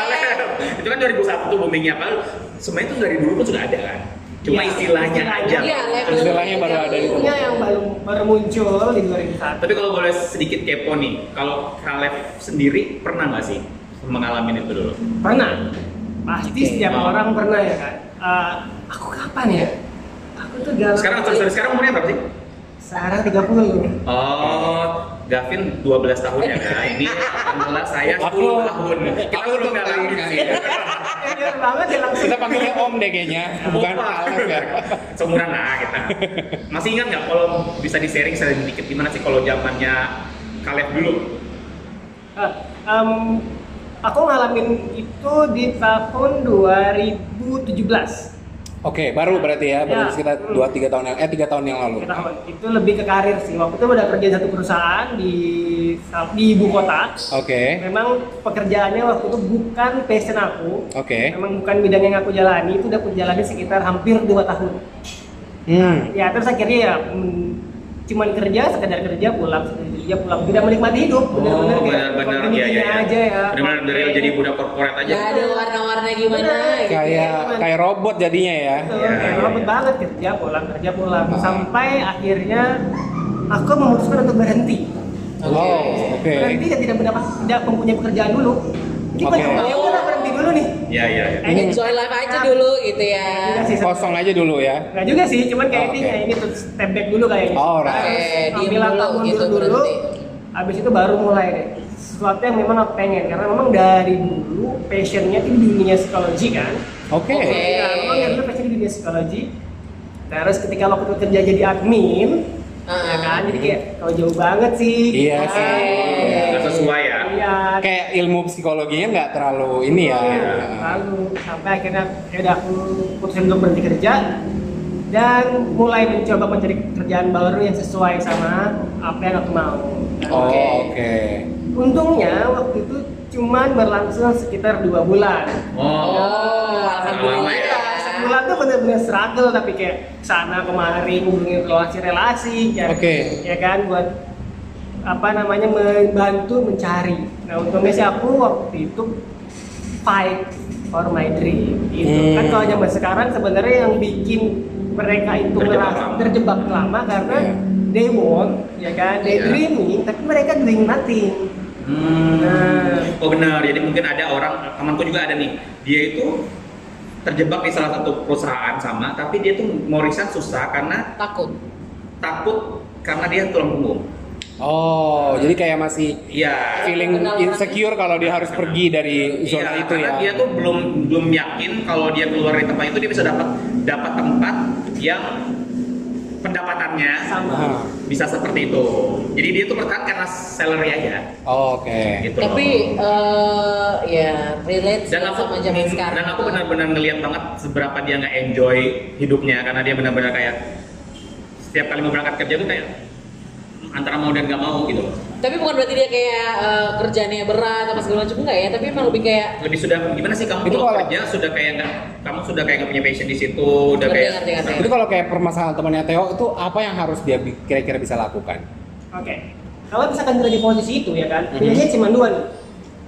Speaker 3: Itu kan 2001 tuh boomingnya apa? Sebenarnya itu dari dulu pun sudah ada kan. Cuma
Speaker 5: Iya.
Speaker 3: istilahnya aja.
Speaker 2: Iya, level
Speaker 4: Istilahnya ya, baru ada di
Speaker 2: Iya,
Speaker 5: Ini yang baru, baru muncul di 2001.
Speaker 3: Tapi kalau boleh sedikit kepo nih, kalau Kaleb sendiri pernah nggak sih mengalami itu dulu?
Speaker 5: Pernah. Pasti setiap
Speaker 3: Oh.
Speaker 5: orang pernah ya kan. Eh, aku kapan ya? Aku tuh galau.
Speaker 3: Sekarang sorry, sorry, sekarang umurnya berapa sih?
Speaker 5: Sekarang 30.
Speaker 3: Oh, Gavin 12 tahun ya kan. Ini 18 saya 10
Speaker 4: Aku-
Speaker 3: tahun. Kita
Speaker 4: aku
Speaker 3: belum
Speaker 4: tuh
Speaker 3: ngalamin
Speaker 4: paling-
Speaker 3: sih.
Speaker 5: Jujur banget ya langsung.
Speaker 4: Kita panggilnya Om deh kayaknya, bukan
Speaker 3: Opa.
Speaker 4: Alex ya.
Speaker 3: Seumuran lah kita. Masih ingat nggak kalau bisa di sharing sedikit gimana sih kalau zamannya Kaleb dulu?
Speaker 5: Eh, em, aku ngalamin itu di tahun 2017.
Speaker 4: Oke, baru berarti ya, baru
Speaker 5: Ya.
Speaker 4: sekitar 2 3 tahun yang eh 3 tahun yang lalu.
Speaker 5: Tiga ya, tahun. Itu lebih ke karir sih. Waktu itu udah kerja di satu perusahaan di di ibu kota.
Speaker 4: Oke.
Speaker 5: Memang pekerjaannya waktu itu bukan passion aku.
Speaker 4: Oke.
Speaker 5: Memang bukan bidang yang aku jalani. Itu udah aku jalani sekitar hampir 2 tahun.
Speaker 4: Hmm.
Speaker 5: Ya terus akhirnya ya mm, cuman kerja sekedar kerja pulang sekedar kerja pulang tidak menikmati hidup benar-benar
Speaker 3: Oh,
Speaker 5: kayak
Speaker 3: benar-benar ya ya.
Speaker 5: konten begini
Speaker 3: ya.
Speaker 5: aja ya
Speaker 3: Benar-benar dari
Speaker 5: Konten.
Speaker 3: jadi budak korporat aja.
Speaker 2: Gak ada warna-warna gimana
Speaker 5: Bener.
Speaker 2: gitu.
Speaker 4: Kayak kayak robot jadinya ya.
Speaker 3: Ya,
Speaker 5: Betul, Gitu, kayak
Speaker 3: ya,
Speaker 5: robot
Speaker 3: ya.
Speaker 5: banget kerja pulang kerja pulang
Speaker 4: Ah.
Speaker 5: sampai akhirnya aku memutuskan untuk berhenti
Speaker 4: Wow, oke.
Speaker 5: berhenti dan tidak mendapat tidak mempunyai pekerjaan dulu jadi
Speaker 4: Oke.
Speaker 5: banyak banyak orang berhenti dulu nih
Speaker 3: Iya, iya, iya.
Speaker 5: Eh,
Speaker 2: Enjoy life aja dulu gitu ya.
Speaker 5: Tidak sih,
Speaker 4: Kosong aja dulu ya.
Speaker 5: Nggak juga sih, cuman
Speaker 4: Oh,
Speaker 5: kayak ini
Speaker 4: oke.
Speaker 5: kayak ini tuh step back dulu kayaknya.
Speaker 4: Alright.
Speaker 2: Oke, diem
Speaker 5: ambil langkah
Speaker 2: dulu
Speaker 5: mundur
Speaker 2: gitu,
Speaker 5: dulu.
Speaker 2: berhenti.
Speaker 5: Habis itu baru mulai deh. Sesuatu yang memang aku pengen karena memang dari dulu passionnya itu di dunia psikologi kan.
Speaker 4: Oke.
Speaker 2: Oke.
Speaker 5: Ya, memang dari dulu passion di dunia psikologi. Terus ketika waktu itu kerja jadi admin,
Speaker 2: Ah.
Speaker 5: ya kan, jadi kayak kau jauh banget sih.
Speaker 4: Iya
Speaker 5: Kan?
Speaker 4: sih.
Speaker 3: Nggak sesuai ya.
Speaker 5: Iya.
Speaker 4: Kayak ilmu psikologinya nggak terlalu ini ya.
Speaker 3: Iya.
Speaker 5: Lalu sampai akhirnya ya udah aku putusin untuk berhenti kerja dan mulai mencoba mencari kerjaan baru yang sesuai sama apa yang aku mau. Dan
Speaker 4: Oh,
Speaker 2: Oke.
Speaker 4: oke.
Speaker 5: Untungnya waktu itu cuman berlangsung sekitar dua bulan.
Speaker 4: Iya.
Speaker 3: Oh.
Speaker 2: Oh,
Speaker 3: Lama
Speaker 2: alhamdulillah.
Speaker 3: ya.
Speaker 2: ya.
Speaker 5: Sebulan tuh bener-bener struggle tapi kayak sana kemari ngubungin relasi-relasi, ya,
Speaker 4: Oke.
Speaker 5: ya kan buat apa namanya membantu mencari. Nah untungnya sih aku waktu itu fight for my dream. Gitu.
Speaker 4: Hmm.
Speaker 5: Kan kalau zaman sekarang sebenarnya yang bikin mereka itu
Speaker 3: Terjebak
Speaker 5: merasa
Speaker 3: lama.
Speaker 5: terjebak lama karena
Speaker 4: Iya.
Speaker 5: they want, ya kan, they
Speaker 3: Iya.
Speaker 5: dreaming, tapi mereka doing nothing.
Speaker 3: Hmm. Oh benar. Jadi mungkin ada orang temanku juga ada nih. Dia itu terjebak di salah satu perusahaan sama, tapi dia tuh mau resign susah karena
Speaker 2: Takut.
Speaker 3: takut karena dia tulang punggung.
Speaker 4: Oh, jadi kayak masih
Speaker 3: Iya.
Speaker 4: feeling
Speaker 2: Kenal orang.
Speaker 4: insecure kalau dia harus pergi dari zona
Speaker 3: Iya,
Speaker 4: itu
Speaker 3: karena
Speaker 4: ya.
Speaker 3: dia tuh belum belum yakin kalau dia keluar dari tempat itu dia bisa dapat dapat tempat yang pendapatannya
Speaker 5: sama
Speaker 4: Ah.
Speaker 3: bisa seperti itu. Jadi dia tuh bertahan karena salary aja
Speaker 4: Oh, Oke.
Speaker 3: gitu. loh.
Speaker 2: Tapi eh ya relate sih
Speaker 3: dan aku hmm,
Speaker 2: sama zaman sekarang.
Speaker 3: dan aku benar-benar ngelihat banget seberapa dia nggak enjoy hidupnya karena dia benar-benar kayak setiap kali mau berangkat kerja tuh kayak "Hmm, antara mau dan nggak mau gitu.
Speaker 2: Tapi bukan berarti dia kayak eh, kerjaannya berat apa segala macam enggak ya, tapi emang lebih kayak
Speaker 3: Lebih sudah gimana sih kamu
Speaker 4: Itu
Speaker 3: kalau
Speaker 4: kalau-
Speaker 3: kerja sudah kayak nggak kamu sudah kayak nggak punya passion di situ, udah
Speaker 2: Ngerti,
Speaker 3: kayak
Speaker 2: ngerti, ngerti.
Speaker 4: Itu kalau kayak permasalahan temannya Theo itu apa yang harus dia bi- kira-kira bisa lakukan?
Speaker 5: Oke. Kalau misalkan berada di posisi itu ya kan,
Speaker 4: Mhm.
Speaker 5: pilihannya cuma dua nih.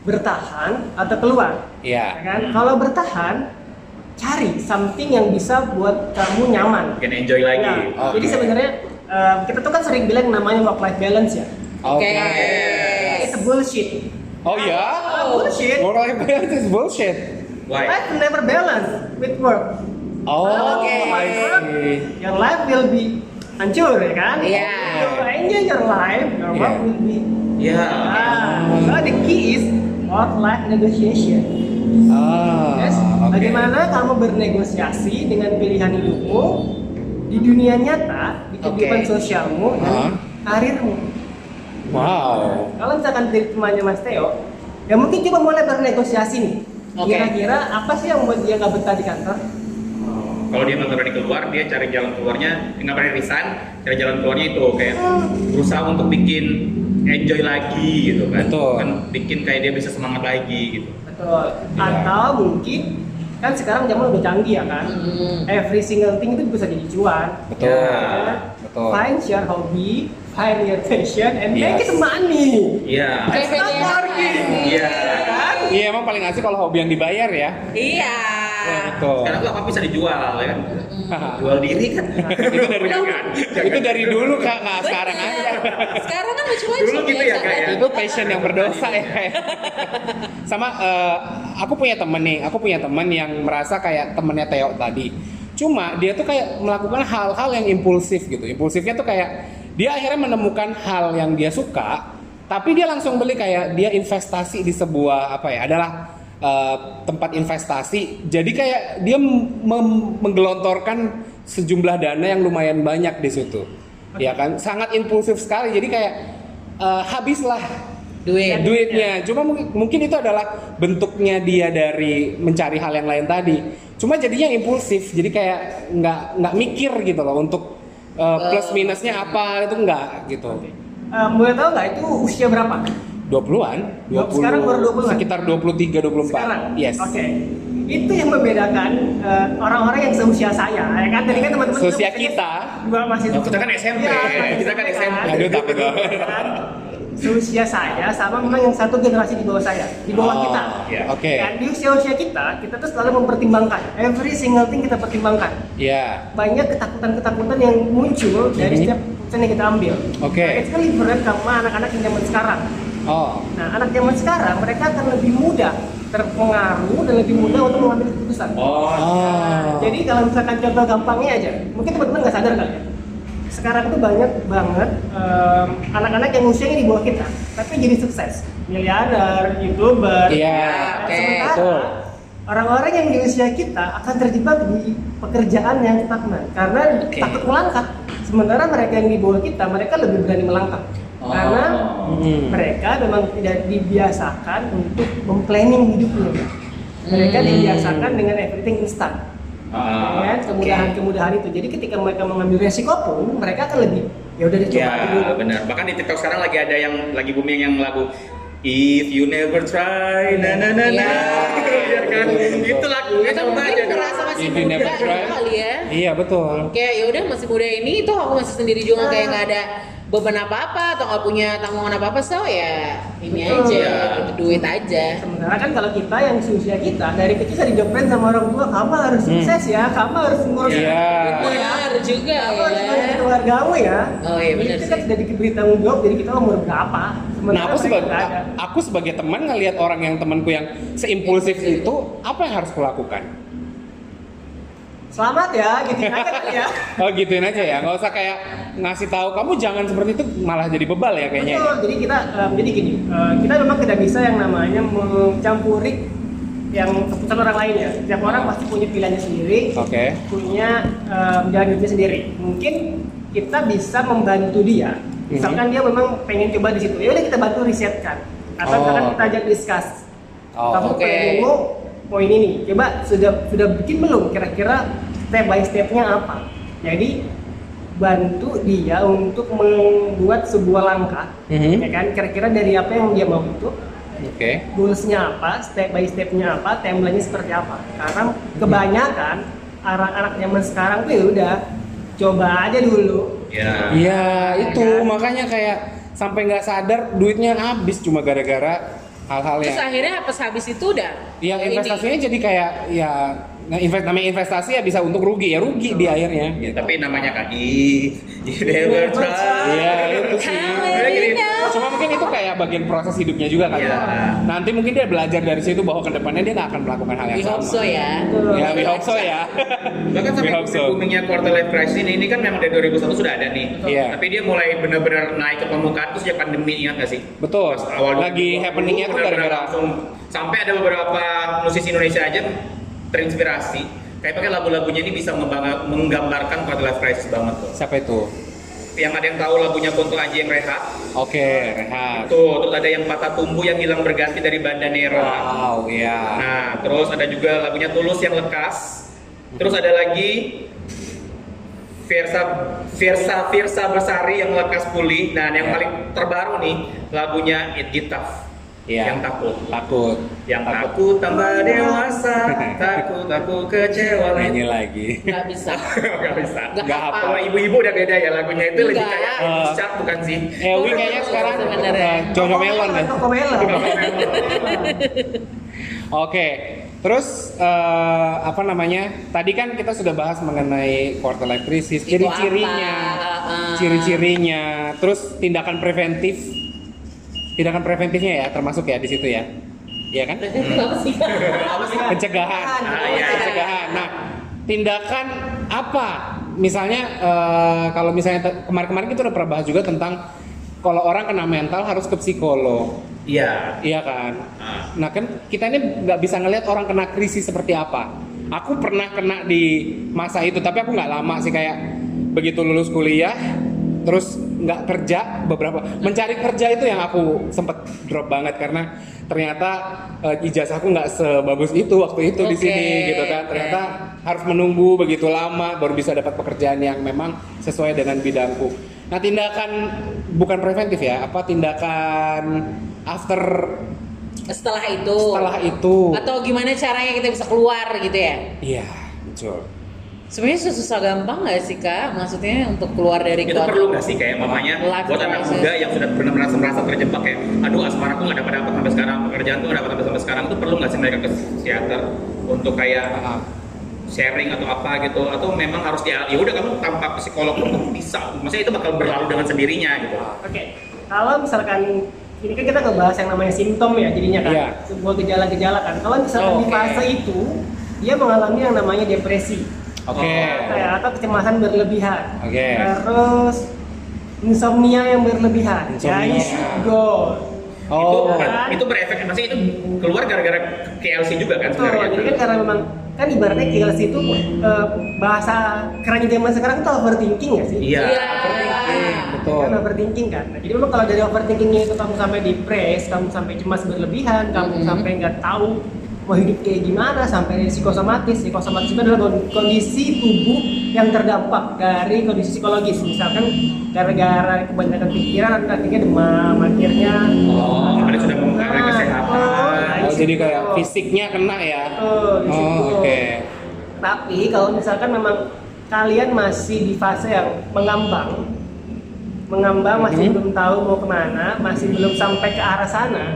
Speaker 5: Bertahan atau keluar. Ya
Speaker 4: Iya.
Speaker 5: kan? Kalau bertahan, cari something yang bisa buat kamu nyaman.
Speaker 3: mungkin enjoy lagi.
Speaker 5: Ya,
Speaker 4: Oke.
Speaker 5: Jadi sebenarnya eh, kita tuh kan sering bilang namanya work life balance ya.
Speaker 2: oke.
Speaker 5: It's a bullshit.
Speaker 4: Oh iya.
Speaker 5: Ah, bullshit.
Speaker 4: Moral balance is bullshit.
Speaker 3: Why?
Speaker 5: Life never balance with work.
Speaker 4: Oh,
Speaker 2: Oke.
Speaker 4: I see.
Speaker 5: Your life will be hancur ya kan?
Speaker 2: Iya.
Speaker 5: You enjoy your life, your work
Speaker 4: Iya.
Speaker 5: will be.
Speaker 3: Ya.
Speaker 5: Ah, so the key is work life negotiation.
Speaker 4: Ah,
Speaker 5: Yes.
Speaker 4: oke.
Speaker 5: Bagaimana kamu bernegosiasi dengan pilihan hidupmu di dunia nyata, di kehidupan
Speaker 2: Oke.
Speaker 5: sosialmu
Speaker 4: Hah?
Speaker 5: dan karirmu.
Speaker 4: Wow.
Speaker 5: Kalau misalkan dari temannya Mas Theo, ya mungkin cuma mulai bernegosiasi nih.
Speaker 2: Oke.
Speaker 5: Kira-kira apa sih yang membuat dia nggak betah di kantor?
Speaker 3: Kalau dia nggak berani keluar, dia cari jalan keluarnya, nggak berani resign, cari jalan keluarnya itu kayak berusaha untuk bikin enjoy lagi gitu kan.
Speaker 4: Betul.
Speaker 3: Kan bikin kayak dia bisa semangat lagi gitu.
Speaker 5: Betul.
Speaker 4: Iya.
Speaker 5: Atau mungkin kan sekarang zaman udah canggih ya kan.
Speaker 2: Hmm.
Speaker 5: Every single thing itu bisa jadi cuan.
Speaker 4: Betul.
Speaker 5: Ya.
Speaker 4: Betul.
Speaker 5: Find your hobby, find your passion, and make
Speaker 4: Yes.
Speaker 5: it money.
Speaker 3: Iya.
Speaker 2: Kayak
Speaker 5: It's not
Speaker 2: PDH
Speaker 5: working.
Speaker 2: lagi.
Speaker 3: Iya.
Speaker 5: Kan?
Speaker 4: Iya, emang paling asik kalau hobi yang dibayar ya.
Speaker 2: Iya.
Speaker 4: Ya, betul.
Speaker 3: Sekarang tuh apa bisa dijual ya kan?
Speaker 4: Hahaha.
Speaker 3: Jual diri kan.
Speaker 4: itu dari
Speaker 3: Jangan.
Speaker 4: itu dari dulu kak, nggak
Speaker 2: Bener.
Speaker 4: Nah, sekarang aja.
Speaker 2: Sekarang kan macam-macam.
Speaker 3: Dulu gitu ya, Kak, ya?
Speaker 4: Itu passion yang berdosa ya. Sama eh, aku punya temen nih, aku punya temen yang merasa kayak temennya Theo tadi. Cuma dia tuh kayak melakukan hal-hal yang impulsif gitu. Impulsifnya tuh kayak dia akhirnya menemukan hal yang dia suka, tapi dia langsung beli kayak dia investasi di sebuah apa ya adalah eh, tempat investasi. Jadi kayak dia mem- menggelontorkan sejumlah dana yang lumayan banyak di situ. Ya kan, sangat impulsif sekali. Jadi kayak eh, habislah
Speaker 2: Duit.
Speaker 4: Eh, duitnya. Cuma mungkin, mungkin itu adalah bentuknya dia dari mencari hal yang lain tadi. Cuma jadinya impulsif, jadi kayak nggak nggak mikir gitu loh untuk uh, plus minusnya
Speaker 5: iya.
Speaker 4: apa itu nggak gitu.
Speaker 5: Eh, boleh tahu nggak itu usia berapa?
Speaker 4: 20-an, 20
Speaker 5: Sekarang baru 20-an?
Speaker 4: sekitar 23 24.
Speaker 5: Sekarang?
Speaker 4: Yes.
Speaker 5: Oke. Itu yang membedakan eh, orang-orang yang seusia saya. Ya kan tadi kan teman-teman
Speaker 4: Seusia
Speaker 5: biasanya
Speaker 4: kita.
Speaker 5: Gua masih Iya,
Speaker 3: Oh, kita kan SMP.
Speaker 5: masih
Speaker 3: Kita kan SMP.
Speaker 4: Aduh, takut dong.
Speaker 5: Kan? Seusia saya sama memang yang satu generasi di bawah saya, di
Speaker 4: Oh,
Speaker 5: bawah kita. Iya. Kan?
Speaker 3: Ya.
Speaker 4: Oke.
Speaker 5: Dan di usia-usia kita, kita tuh selalu mempertimbangkan. Every single thing kita pertimbangkan.
Speaker 4: Iya.
Speaker 5: Banyak ketakutan-ketakutan yang muncul dari
Speaker 4: Mhm.
Speaker 5: setiap keputusan yang kita ambil.
Speaker 4: Oke.
Speaker 5: Nah, It's really berat sama anak-anak yang zaman sekarang.
Speaker 4: Oh.
Speaker 5: Nah, anak zaman sekarang mereka akan lebih mudah terpengaruh dan lebih mudah untuk mengambil keputusan.
Speaker 3: Oh.
Speaker 4: Oh.
Speaker 5: Jadi kalau misalkan contoh gampangnya aja, mungkin teman-teman nggak sadar kali ya. Sekarang tuh banyak banget em, anak-anak yang usianya di bawah kita, tapi jadi sukses, miliarder, youtuber.
Speaker 4: Iya,
Speaker 5: Nah,
Speaker 2: oke,
Speaker 5: sementara
Speaker 4: betul.
Speaker 5: Orang-orang yang di usia kita akan terjebak di pekerjaan yang stagnan karena
Speaker 2: Oke.
Speaker 5: takut melangkah. Sementara mereka yang di bawah kita, mereka lebih berani melangkah.
Speaker 3: Oh.
Speaker 5: Karena
Speaker 4: Hmm.
Speaker 5: mereka memang tidak dibiasakan untuk memplanning hidupnya. Mereka
Speaker 2: Hmm.
Speaker 5: dibiasakan dengan everything instan.
Speaker 3: Ah.
Speaker 5: Ya, kemudahan-kemudahan itu. Jadi ketika mereka mengambil resiko pun mereka akan lebih ya udah dicoba
Speaker 3: Ya,
Speaker 5: aja dulu.
Speaker 3: benar. Bahkan di TikTok sekarang lagi ada yang lagi booming yang lagu If you never try, na na na na,
Speaker 2: Iya.
Speaker 3: ya kan? Itu lagunya
Speaker 2: Atau
Speaker 3: sama
Speaker 2: mungkin
Speaker 3: aja.
Speaker 2: ngerasa masih
Speaker 4: If you
Speaker 2: muda
Speaker 4: never
Speaker 2: gitu
Speaker 4: try.
Speaker 2: kali ya.
Speaker 4: Iya, betul.
Speaker 2: Kayak ya udah masih muda ini toh aku masih sendiri juga kayak nggak ada beban apa-apa atau nggak punya tanggungan apa-apa so ya ini
Speaker 5: Betul.
Speaker 2: aja
Speaker 3: Iya.
Speaker 2: gitu, duit aja.
Speaker 5: Sementara kan kalau kita yang usia kita dari kecil saya didokterin sama orang tua kamu harus sukses ya, kamu harus ngurus
Speaker 4: Hmm. Iya.
Speaker 5: hidupmu ya,
Speaker 2: Benar juga
Speaker 5: kamu harus
Speaker 2: ya.
Speaker 5: ngurus keluargamu ya.
Speaker 2: Oh iya, benar
Speaker 5: Jadi kita
Speaker 2: sih.
Speaker 5: tidak diberi tanggung jawab, jadi kita umur berapa?
Speaker 4: Nah, aku
Speaker 5: mereka
Speaker 4: sebagai
Speaker 5: nggak ada.
Speaker 4: aku sebagai teman ngelihat orang yang temanku yang seimpulsif itu, apa yang harus kulakukan?
Speaker 5: Selamat ya, gitu aja kali ya.
Speaker 4: Oh gituin aja ya, nggak usah kayak ngasih tahu kamu jangan seperti itu malah jadi bebal ya kayaknya.
Speaker 5: eh, Betul. Jadi kita em, jadi gini, eh, kita memang tidak bisa yang namanya mencampuri yang keputusan orang lain ya. Setiap
Speaker 2: Oh.
Speaker 5: orang pasti punya pilihannya sendiri,
Speaker 4: Oke.
Speaker 5: punya em, jalan hidupnya sendiri. Mungkin kita bisa membantu dia.
Speaker 4: Mhm.
Speaker 5: Misalkan dia memang pengen coba di situ, ya udah kita bantu risetkan. Atau
Speaker 4: Oh.
Speaker 5: misalkan kita ajak discuss
Speaker 4: Oh,
Speaker 5: kamu
Speaker 2: oke.
Speaker 5: pengen mau mau ini nih coba sudah sudah bikin belum kira-kira step by stepnya apa jadi bantu dia untuk membuat sebuah langkah
Speaker 4: Mhm.
Speaker 5: ya kan kira-kira dari apa yang dia mau itu
Speaker 4: Oke.
Speaker 5: goalsnya apa step by stepnya apa timelinenya seperti apa karena kebanyakan anak-anak zaman sekarang tuh ya udah coba aja dulu
Speaker 3: Ya.
Speaker 4: Iya itu
Speaker 5: Kan?
Speaker 4: makanya kayak sampai nggak sadar duitnya habis cuma gara-gara hal-hal
Speaker 2: Terus
Speaker 4: yang
Speaker 2: akhirnya pas habis itu udah
Speaker 4: yang
Speaker 2: ini.
Speaker 4: investasinya jadi kayak ya nah, invest namanya investasi ya bisa untuk rugi ya rugi di akhirnya.
Speaker 2: Iya.
Speaker 3: Ya, tapi namanya kaki, you never try.
Speaker 4: Iya itu sih.
Speaker 2: Hallelujah.
Speaker 3: Gini, gini.
Speaker 4: Cuma mungkin itu kayak bagian proses hidupnya juga kan.
Speaker 3: Iya.
Speaker 4: Nanti mungkin dia belajar dari situ bahwa kedepannya dia nggak akan melakukan hal yang
Speaker 2: We hope
Speaker 4: sama.
Speaker 2: so ya.
Speaker 4: Ya, we hope so ya.
Speaker 3: Bahkan
Speaker 4: We
Speaker 3: sampai
Speaker 4: hope so.
Speaker 3: boomingnya quarter life crisis ini, ini kan memang dari 2001 sudah ada nih.
Speaker 4: Iya.
Speaker 3: Tapi dia mulai benar-benar naik ke permukaan terus ya pandemi ingat nggak sih?
Speaker 4: Betul.
Speaker 3: Pas awal
Speaker 4: Lagi
Speaker 3: 2020,
Speaker 4: happeningnya tuh
Speaker 3: benar-benar
Speaker 4: gara-gara
Speaker 3: langsung sampai ada beberapa musisi Indonesia aja terinspirasi. Kayak pakai lagu-lagunya ini bisa membangga- menggambarkan quarter life crisis banget tuh.
Speaker 4: siapa itu?
Speaker 3: Yang ada yang tahu lagunya Kunto Aji yang rehat,
Speaker 4: Oke, Rehat.
Speaker 3: tuh terus ada yang patah tumbuh yang hilang berganti dari Banda Nero.
Speaker 4: Wow, ya.
Speaker 3: Nah, terus ada juga lagunya Tulus yang lekas. Terus ada lagi Versa Versa Versa Bersari yang lekas pulih. Nah, yang
Speaker 4: Ya.
Speaker 3: paling terbaru nih lagunya It Get Tough.
Speaker 4: Iya.
Speaker 3: Yang takut.
Speaker 4: Takut.
Speaker 3: Yang takut tambah dewasa, takut aku kecewa.
Speaker 4: Nyanyi lagi.
Speaker 2: Gak bisa.
Speaker 3: Gak bisa.
Speaker 2: Gak
Speaker 4: Iya. Nggak
Speaker 2: apa.
Speaker 3: Kalau ibu-ibu udah beda ya lagunya itu lebih
Speaker 2: Nggak.
Speaker 3: kayak
Speaker 4: Eh.
Speaker 3: Cak bukan sih?
Speaker 4: Ewi Eh, kayaknya sekarang
Speaker 2: Sebenarnya.
Speaker 4: eh, Jojo Melon ya.
Speaker 5: Toko melon.
Speaker 4: Oke, terus eh, apa namanya? Tadi kan kita sudah bahas mengenai quarter life crisis,
Speaker 2: Itu
Speaker 4: ciri-cirinya,
Speaker 2: apa? Ah.
Speaker 4: ciri-cirinya, terus tindakan preventif, tindakan preventifnya ya termasuk ya di situ ya, ya kan?
Speaker 2: Kenapa sih?
Speaker 4: Pencegahan,
Speaker 3: Ah, iya.
Speaker 4: pencegahan. Nah, tindakan apa? Misalnya eh, kalau misalnya te- kemarin-kemarin kita udah pernah bahas juga tentang kalau orang kena mental harus ke psikolog,
Speaker 3: Iya.
Speaker 4: iya kan?
Speaker 3: Ah.
Speaker 4: Nah kan kita ini nggak bisa ngelihat orang kena krisis seperti apa. Aku pernah kena di masa itu, tapi aku nggak lama sih kayak begitu lulus kuliah, terus nggak kerja beberapa mencari kerja itu yang aku sempet drop banget karena ternyata eh, ijazahku nggak sebagus itu waktu itu di
Speaker 2: Oke,
Speaker 4: sini gitu kan. Ternyata harus menunggu begitu lama baru bisa dapat pekerjaan yang memang sesuai dengan bidangku. Nah tindakan bukan preventif ya, apa tindakan after
Speaker 2: Setelah itu.
Speaker 4: setelah itu
Speaker 2: Atau gimana caranya kita bisa keluar gitu ya?
Speaker 4: iya betul
Speaker 2: Sebenarnya susah gampang nggak sih kak? Maksudnya untuk keluar dari
Speaker 3: itu perlu nggak sih kayak mamanya
Speaker 2: Gitu. Life
Speaker 3: buat anak
Speaker 2: crisis.
Speaker 3: muda yang sudah benar merasa merasa terjebak kayak aduh asmara aku nggak dapat dapat sampai sekarang pekerjaan tuh nggak dapat dapat sampai sekarang itu perlu nggak sih mereka ke psikiater untuk kayak sharing atau apa gitu atau memang harus dia ya udah kamu tanpa psikolog pun bisa maksudnya itu bakal berlalu dengan sendirinya gitu
Speaker 5: Oke, kalau misalkan ini kan kita ngebahas yang namanya simptom ya jadinya kan
Speaker 4: Iya.
Speaker 5: sebuah gejala-gejala kan. Kalau misalkan
Speaker 2: Oh,
Speaker 5: di
Speaker 2: oke.
Speaker 5: fase itu dia mengalami yang namanya depresi
Speaker 4: oke
Speaker 5: kayak atau kecemasan berlebihan.
Speaker 4: Oke.
Speaker 5: Terus insomnia yang berlebihan. Ya,
Speaker 4: Insomnia.
Speaker 5: you should go.
Speaker 4: oh
Speaker 3: itu kan, itu berefek maksudnya itu keluar gara-gara KLC juga
Speaker 4: Iya,
Speaker 3: kan
Speaker 5: Betul.
Speaker 3: sebenarnya
Speaker 5: Jadi kan karena memang kan ibaratnya KLC itu eh, bahasa kerennya zaman sekarang itu overthinking ya sih?
Speaker 3: iya
Speaker 2: Iya.
Speaker 4: betul
Speaker 5: kan overthinking kan nah, jadi memang kalau dari overthinkingnya itu kamu sampai depres kamu sampai cemas berlebihan kamu
Speaker 4: Mm-hmm.
Speaker 2: Mhm.
Speaker 5: sampai nggak tahu mau hidup kayak gimana sampai psikosomatis psikosomatis itu adalah kon- kondisi tubuh yang terdampak dari kondisi psikologis misalkan gara-gara kebanyakan pikiran atau akhirnya demam akhirnya Ah,
Speaker 3: oh ada sudah mengenai kesehatan
Speaker 4: Oh, jadi kayak fisiknya kena ya
Speaker 5: nah, Betul, di
Speaker 4: oh
Speaker 5: situ.
Speaker 4: oke
Speaker 5: Tapi kalau misalkan memang kalian masih di fase yang mengambang, mengambang
Speaker 4: Mhm.
Speaker 5: masih belum tahu mau kemana, masih belum sampai ke arah sana,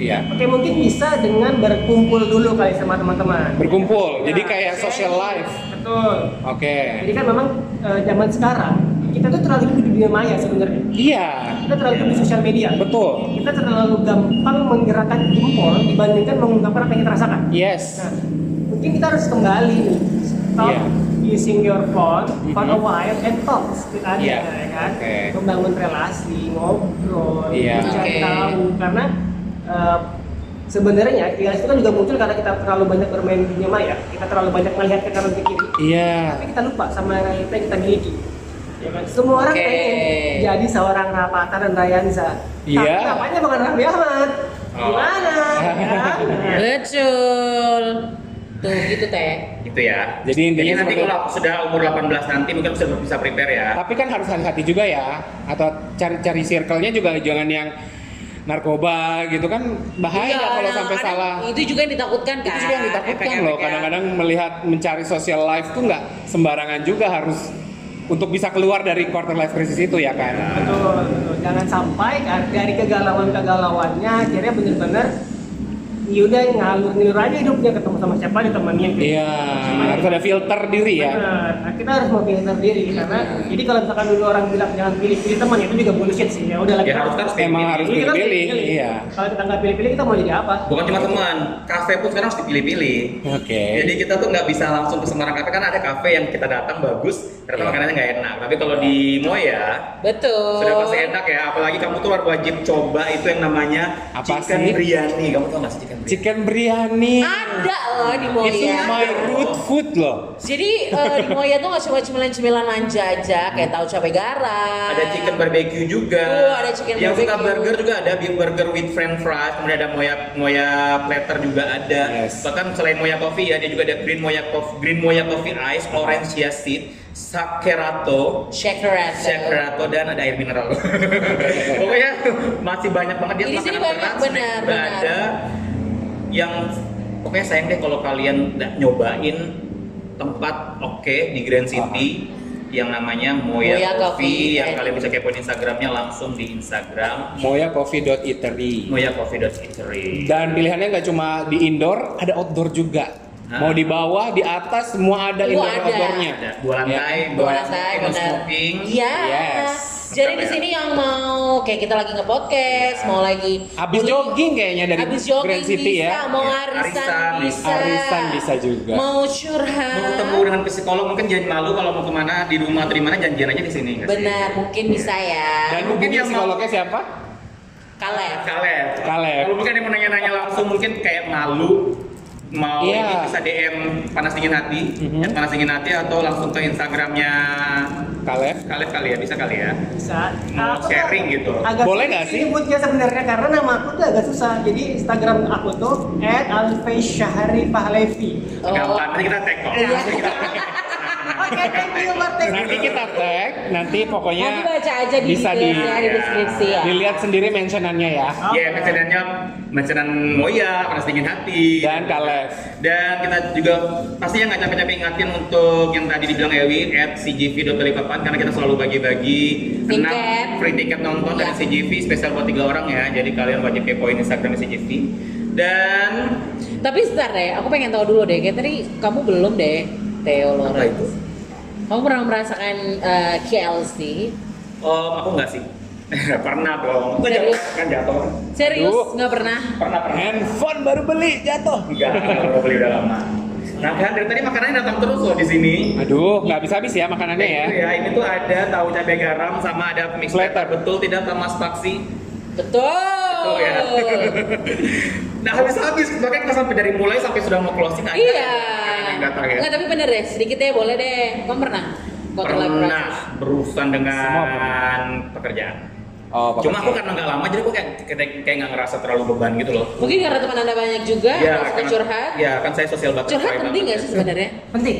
Speaker 4: iya
Speaker 5: oke mungkin bisa dengan berkumpul dulu kali sama teman-teman.
Speaker 4: berkumpul jadi
Speaker 5: Nah,
Speaker 4: kayak social life
Speaker 5: Betul.
Speaker 4: oke
Speaker 5: Jadi kan memang eh, zaman sekarang kita tuh terlalu hidup di dunia maya sebenarnya.
Speaker 4: iya
Speaker 5: Kita terlalu hidup di sosial media.
Speaker 4: betul
Speaker 5: Kita terlalu gampang menggerakkan jempol dibandingkan mengungkapkan apa yang kita rasakan.
Speaker 4: yes
Speaker 5: Nah, mungkin kita harus kembali nih. Stop
Speaker 4: Iya.
Speaker 5: using your phone for a
Speaker 4: Mhm.
Speaker 5: while and talk with others,
Speaker 4: Iya.
Speaker 5: ya kan?
Speaker 4: Oke.
Speaker 5: Membangun relasi, ngobrol,
Speaker 4: Iya.
Speaker 2: Oke.
Speaker 5: cari tahu karena eh, sebenarnya idealis itu kan juga muncul karena kita terlalu banyak bermain di dunia maya kita terlalu banyak melihat ke kanan ke kiri
Speaker 4: Iya.
Speaker 5: tapi kita lupa sama realita yang kita miliki ya kan? semua orang
Speaker 2: Oke.
Speaker 5: pengen jadi seorang Rapata dan Rayansa
Speaker 4: Iya.
Speaker 5: tapi namanya bukan Raffi Ahmad
Speaker 3: Oh.
Speaker 5: gimana ya kan?
Speaker 2: Betul. Tuh gitu teh.
Speaker 3: gitu ya.
Speaker 4: Jadi intinya
Speaker 3: nanti
Speaker 4: seperti-
Speaker 3: kalau sudah umur 18 nanti mungkin bisa bisa prepare ya.
Speaker 4: Tapi kan harus hati-hati juga ya. Atau cari cari circle-nya juga jangan yang narkoba gitu kan bahaya
Speaker 2: Iya,
Speaker 4: kalau
Speaker 2: nah,
Speaker 4: sampai
Speaker 2: kadang
Speaker 4: salah.
Speaker 2: Itu juga yang ditakutkan kan.
Speaker 4: Itu juga yang ditakutkan
Speaker 2: Efek-efeknya.
Speaker 4: loh. Kadang-kadang melihat mencari social life tuh nggak sembarangan juga harus untuk bisa keluar dari quarter life crisis itu ya kan.
Speaker 5: betul betul. jangan sampai kan dari kegalauan kegalauannya akhirnya bener-bener ya udah ngalur ngalur aja hidupnya ketemu sama siapa ditemenin gitu.
Speaker 4: Iya, harus ada filter diri ya.
Speaker 5: Benar. Nah, kita harus memfilter diri
Speaker 4: Iya.
Speaker 5: karena jadi kalau misalkan dulu orang bilang jangan pilih-pilih teman itu juga bullshit sih. Ya udah lah.
Speaker 3: Ya
Speaker 5: kita-
Speaker 3: harus harus
Speaker 4: Emang
Speaker 3: dipilih.
Speaker 4: harus
Speaker 5: Jadi kita
Speaker 4: pilih-pilih,
Speaker 5: pilih-pilih.
Speaker 4: iya.
Speaker 5: Kalau kita nggak pilih-pilih kita mau jadi apa?
Speaker 3: Bukan cuma teman, kafe pun sekarang harus dipilih-pilih.
Speaker 4: Oke.
Speaker 3: Jadi kita tuh nggak bisa langsung ke Semarang Cafe kan ada kafe yang kita datang bagus, ternyata
Speaker 4: Iya.
Speaker 3: makanannya nggak enak. Tapi kalau di Moya
Speaker 2: Betul.
Speaker 3: sudah
Speaker 4: Oh.
Speaker 3: pasti enak ya, apalagi kamu tuh wajib coba itu yang namanya
Speaker 4: Apa
Speaker 3: chicken
Speaker 4: sih?
Speaker 3: biryani. Kamu tau nggak sih chicken biryani?
Speaker 4: Chicken biryani.
Speaker 2: Ada loh di
Speaker 4: Itu
Speaker 2: Moya.
Speaker 4: my root food loh.
Speaker 2: Jadi eh, di Moya tuh nggak cuma cemilan-cemilan manja aja, kayak tahu cabai
Speaker 4: Ah.
Speaker 2: garam.
Speaker 3: Ada chicken barbecue juga.
Speaker 2: Oh, ada chicken
Speaker 3: Yang suka
Speaker 2: barbecue.
Speaker 3: burger juga ada beef burger with french fries, kemudian ada Moya Moya platter juga ada.
Speaker 4: Yes.
Speaker 3: Bahkan selain Moya coffee ya, dia juga ada green Moya coffee, green Moya coffee ice, orange chia seed, sakerato,
Speaker 2: shaker ass.
Speaker 3: Sekerato dan ada air mineral. Pokoknya masih banyak banget dia
Speaker 2: Di sini
Speaker 3: makanan
Speaker 2: banyak, benar,
Speaker 3: berat, snack juga
Speaker 2: benar.
Speaker 3: ada yang pokoknya sayang deh kalau kalian nggak nyobain tempat oke di Grand City yang namanya Moya,
Speaker 2: Moya
Speaker 3: Coffee,
Speaker 2: Coffee, eh.
Speaker 3: yang
Speaker 2: and-
Speaker 3: kalian bisa kepoin Instagramnya langsung di Instagram
Speaker 4: Moya Coffee Dot Eatery.
Speaker 3: Moya Coffee Eatery.
Speaker 4: Dan pilihannya nggak cuma di indoor, ada outdoor juga.
Speaker 3: Nah.
Speaker 4: Mau di bawah, di atas, semua ada
Speaker 2: Semua
Speaker 4: indoor
Speaker 2: ada.
Speaker 4: outdoornya. Ya.
Speaker 3: Ada dua lantai,
Speaker 2: Dua lantai,
Speaker 3: no
Speaker 2: benar.
Speaker 3: smoking. ya.
Speaker 2: Iya.
Speaker 4: Yes.
Speaker 2: Jadi di sini yang mau kayak kita lagi nge-podcast,
Speaker 3: Iya.
Speaker 2: mau lagi
Speaker 4: Abis
Speaker 2: kuliah,
Speaker 4: jogging kayaknya dari
Speaker 2: abis jogging
Speaker 4: Grand City
Speaker 2: bisa,
Speaker 4: ya.
Speaker 2: mau
Speaker 3: Iya,
Speaker 2: arisan,
Speaker 3: arisan
Speaker 2: bisa,
Speaker 3: bisa.
Speaker 4: Arisan bisa juga.
Speaker 2: mau curhat,
Speaker 3: Mau ketemu dengan psikolog mungkin jangan malu kalau mau kemana di rumah atau di mana janjian aja di sini. nggak sih?
Speaker 2: benar mungkin bisa ya.
Speaker 4: Dan
Speaker 3: Mungkin
Speaker 4: mungkin
Speaker 3: yang mau-
Speaker 4: psikolognya siapa?
Speaker 2: Kaleb.
Speaker 3: Kaleb.
Speaker 4: Kaleb.
Speaker 3: Kalau mungkin yang mau nanya-nanya langsung mungkin kayak malu mau
Speaker 4: Iya.
Speaker 3: ini bisa DM panas dingin hati,
Speaker 4: Mhm.
Speaker 3: at panas dingin hati atau langsung ke Instagramnya
Speaker 4: Kaleb.
Speaker 3: Kaleb kali ya bisa kali ya.
Speaker 5: Bisa.
Speaker 3: Mau
Speaker 5: Aku tuh
Speaker 3: sharing gitu.
Speaker 5: Agak
Speaker 4: Hmm, Boleh
Speaker 5: sulit
Speaker 4: nggak sih?
Speaker 5: Nyebutnya sebenarnya karena nama aku tuh agak susah. Jadi Instagram aku tuh @alfesyahrifahlavi.
Speaker 2: Oh.
Speaker 3: Gampang. Nanti kita tag kok.
Speaker 2: Iya.
Speaker 5: Oke, thank you Martin.
Speaker 4: Nanti kita tag, nanti
Speaker 3: Iya.
Speaker 4: pokoknya
Speaker 2: Nanti baca aja di
Speaker 4: bisa
Speaker 2: di,
Speaker 4: di-
Speaker 2: ya, di deskripsi ya.
Speaker 4: dilihat sendiri mentionannya ya.
Speaker 3: Ya, mesenannya mesenan Moya, panas dingin hati.
Speaker 4: Dan Kaleb.
Speaker 3: Dan kita juga pastinya nggak capek-capek ingatin untuk yang tadi dibilang Ewi at cgv.balikpapan karena kita selalu bagi-bagi enam
Speaker 2: Tiket.
Speaker 3: free tiket nonton dari
Speaker 2: Iya.
Speaker 3: CGV spesial buat tiga orang ya. Jadi kalian wajib kepoin Instagram CGV. Dan
Speaker 2: Tapi sebentar deh, aku pengen tahu dulu deh. Kayak tadi kamu belum deh, Theo
Speaker 3: apa ya?
Speaker 2: Laura.
Speaker 3: itu?
Speaker 2: Kamu pernah merasakan eh, KLC?
Speaker 3: Om, aku nggak sih. pernah dong. Itu
Speaker 2: Serius?
Speaker 3: jatuh kan jatuh.
Speaker 2: Serius
Speaker 4: Aduh.
Speaker 2: nggak pernah?
Speaker 3: Pernah pernah.
Speaker 4: Handphone baru beli jatuh.
Speaker 3: Enggak, baru beli udah lama. Nah, kan dari tadi makanannya datang terus loh di sini.
Speaker 4: Aduh, nggak habis-habis ya makanannya ya.
Speaker 3: Thank you ya. Ini tuh ada tahu cabai garam sama ada mix
Speaker 4: Platter.
Speaker 3: betul tidak sama spaksi
Speaker 2: Betul.
Speaker 3: Betul ya. Nah habis-habis, bahkan kita sampai dari mulai sampai sudah mau closing aja
Speaker 2: iya.
Speaker 3: yang datang ya.
Speaker 2: Nggak tapi bener deh, sedikit deh boleh deh. Kamu pernah? Kau telah
Speaker 3: Pernah
Speaker 2: pernah?
Speaker 3: berurusan
Speaker 4: Semua
Speaker 3: dengan pekerjaan.
Speaker 4: Oh,
Speaker 3: Cuma aku karena nggak lama, jadi aku kayak kayak kayak nggak ngerasa terlalu beban gitu loh. Iya,
Speaker 2: Mungkin karena teman anda banyak juga, ya, suka
Speaker 3: karena-
Speaker 2: curhat.
Speaker 3: Ya, kan saya sosial banget.
Speaker 2: Curhat penting nggak sih sebenarnya?
Speaker 5: Penting.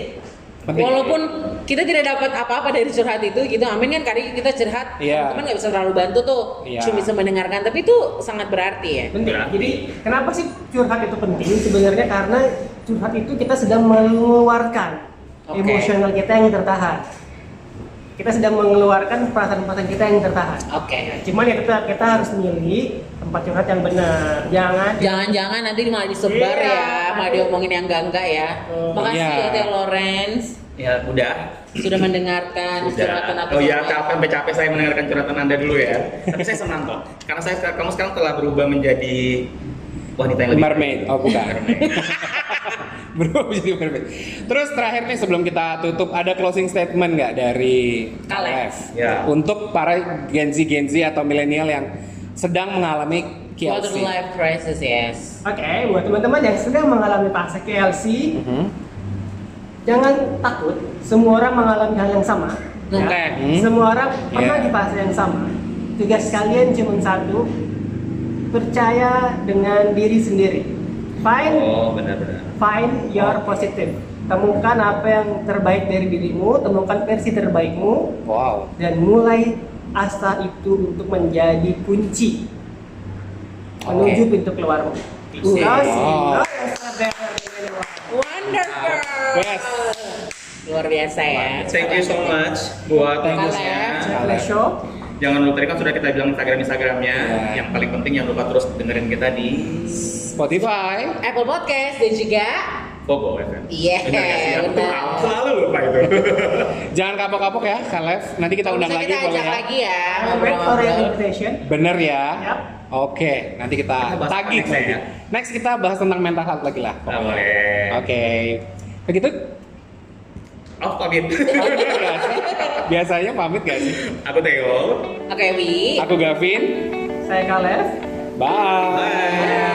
Speaker 4: Penting.
Speaker 2: Walaupun kita tidak dapat apa-apa dari curhat itu gitu, amin kan kadang kita curhat,
Speaker 4: Iya.
Speaker 2: teman nggak bisa terlalu bantu tuh,
Speaker 4: Iya.
Speaker 2: cuma bisa mendengarkan, tapi itu sangat berarti ya.
Speaker 5: penting. Jadi kenapa sih curhat itu penting? Sebenarnya karena curhat itu kita sedang mengeluarkan
Speaker 2: Oke.
Speaker 5: emosional kita yang tertahan. Kita sedang mengeluarkan perasaan-perasaan kita yang tertahan.
Speaker 2: Oke.
Speaker 5: Cuman ya kita, kita harus milih tempat curhat yang benar. Jangan
Speaker 2: Ya. Jangan-jangan nanti malah disebar
Speaker 5: Iya.
Speaker 2: ya, malah diomongin yang enggak-enggak ya.
Speaker 5: Oh,
Speaker 2: Makasih
Speaker 4: iya.
Speaker 2: ya Teh Lawrence
Speaker 3: Ya udah.
Speaker 2: sudah mendengarkan curhatan
Speaker 3: Udah.
Speaker 2: aku.
Speaker 3: Oh ya,
Speaker 2: sama-
Speaker 3: capek sampai capek saya mendengarkan curhatan Anda dulu ya. Tapi saya senang kok, karena saya kamu sekarang telah berubah menjadi wanita yang lebih
Speaker 4: Mermaid. Oh, bukan.
Speaker 3: Mermaid.
Speaker 4: Bro jadi mermaid. Terus terakhir nih sebelum kita tutup ada closing statement nggak dari
Speaker 2: Kalef?
Speaker 4: Kalef
Speaker 3: Ya.
Speaker 4: untuk para Gen Z Gen Z atau milenial yang sedang mengalami
Speaker 2: Quarter
Speaker 4: KLC.
Speaker 2: life crisis yes.
Speaker 5: Oke, buat teman-teman yang sedang mengalami fase KLC,
Speaker 4: Mhm.
Speaker 5: jangan takut. Semua orang mengalami hal yang sama. ya.
Speaker 2: Oke.
Speaker 4: Hmm.
Speaker 5: Semua orang pernah
Speaker 4: Yeah.
Speaker 5: di fase yang sama. Tugas kalian cuma satu, percaya dengan diri sendiri. Find,
Speaker 3: Oh benar-benar.
Speaker 5: find your positive. Temukan apa yang terbaik dari dirimu, temukan versi terbaikmu,
Speaker 4: Wow.
Speaker 5: dan mulai asta itu untuk menjadi kunci menuju pintu keluarmu.
Speaker 2: Wow.
Speaker 5: Wow.
Speaker 2: Wonderful.
Speaker 4: Yes.
Speaker 2: Luar biasa ya.
Speaker 3: Thank you so much buat
Speaker 4: Thank
Speaker 2: you.
Speaker 3: kamusnya.
Speaker 5: Show.
Speaker 3: Jangan lupa tadi kan sudah kita bilang Instagram Instagramnya.
Speaker 4: Iya.
Speaker 3: Yang paling penting jangan lupa terus dengerin kita di
Speaker 4: Spotify.
Speaker 2: Apple Podcast dan juga
Speaker 3: Bobo FM.
Speaker 2: Iya,
Speaker 3: Benar nggak sih? Aku
Speaker 2: benar.
Speaker 3: aku selalu lupa itu.
Speaker 4: Jangan kapok-kapok ya, Kalef. Nanti kita undang
Speaker 2: Bisa
Speaker 4: lagi
Speaker 2: kita
Speaker 4: boleh
Speaker 2: ajak
Speaker 4: ya.
Speaker 2: lagi ya.
Speaker 5: I'm wait for your
Speaker 2: ngobrol-ngobrol.
Speaker 5: invitation.
Speaker 4: Bener ya.
Speaker 5: Yap.
Speaker 4: Oke, nanti kita,
Speaker 3: Kita bahas
Speaker 4: tagih
Speaker 3: apa next
Speaker 4: lagi.
Speaker 3: ya?
Speaker 4: Next kita bahas tentang mental health lagi lah.
Speaker 3: Nah, boleh.
Speaker 4: Oke. Begitu?
Speaker 3: Off pamit.
Speaker 4: Pamit nggak sih? Biasanya pamit gak sih?
Speaker 3: Aku Theo.
Speaker 2: Oke, Wi.
Speaker 4: Aku Gavin.
Speaker 5: Saya Kales.
Speaker 4: Bye.
Speaker 3: Bye.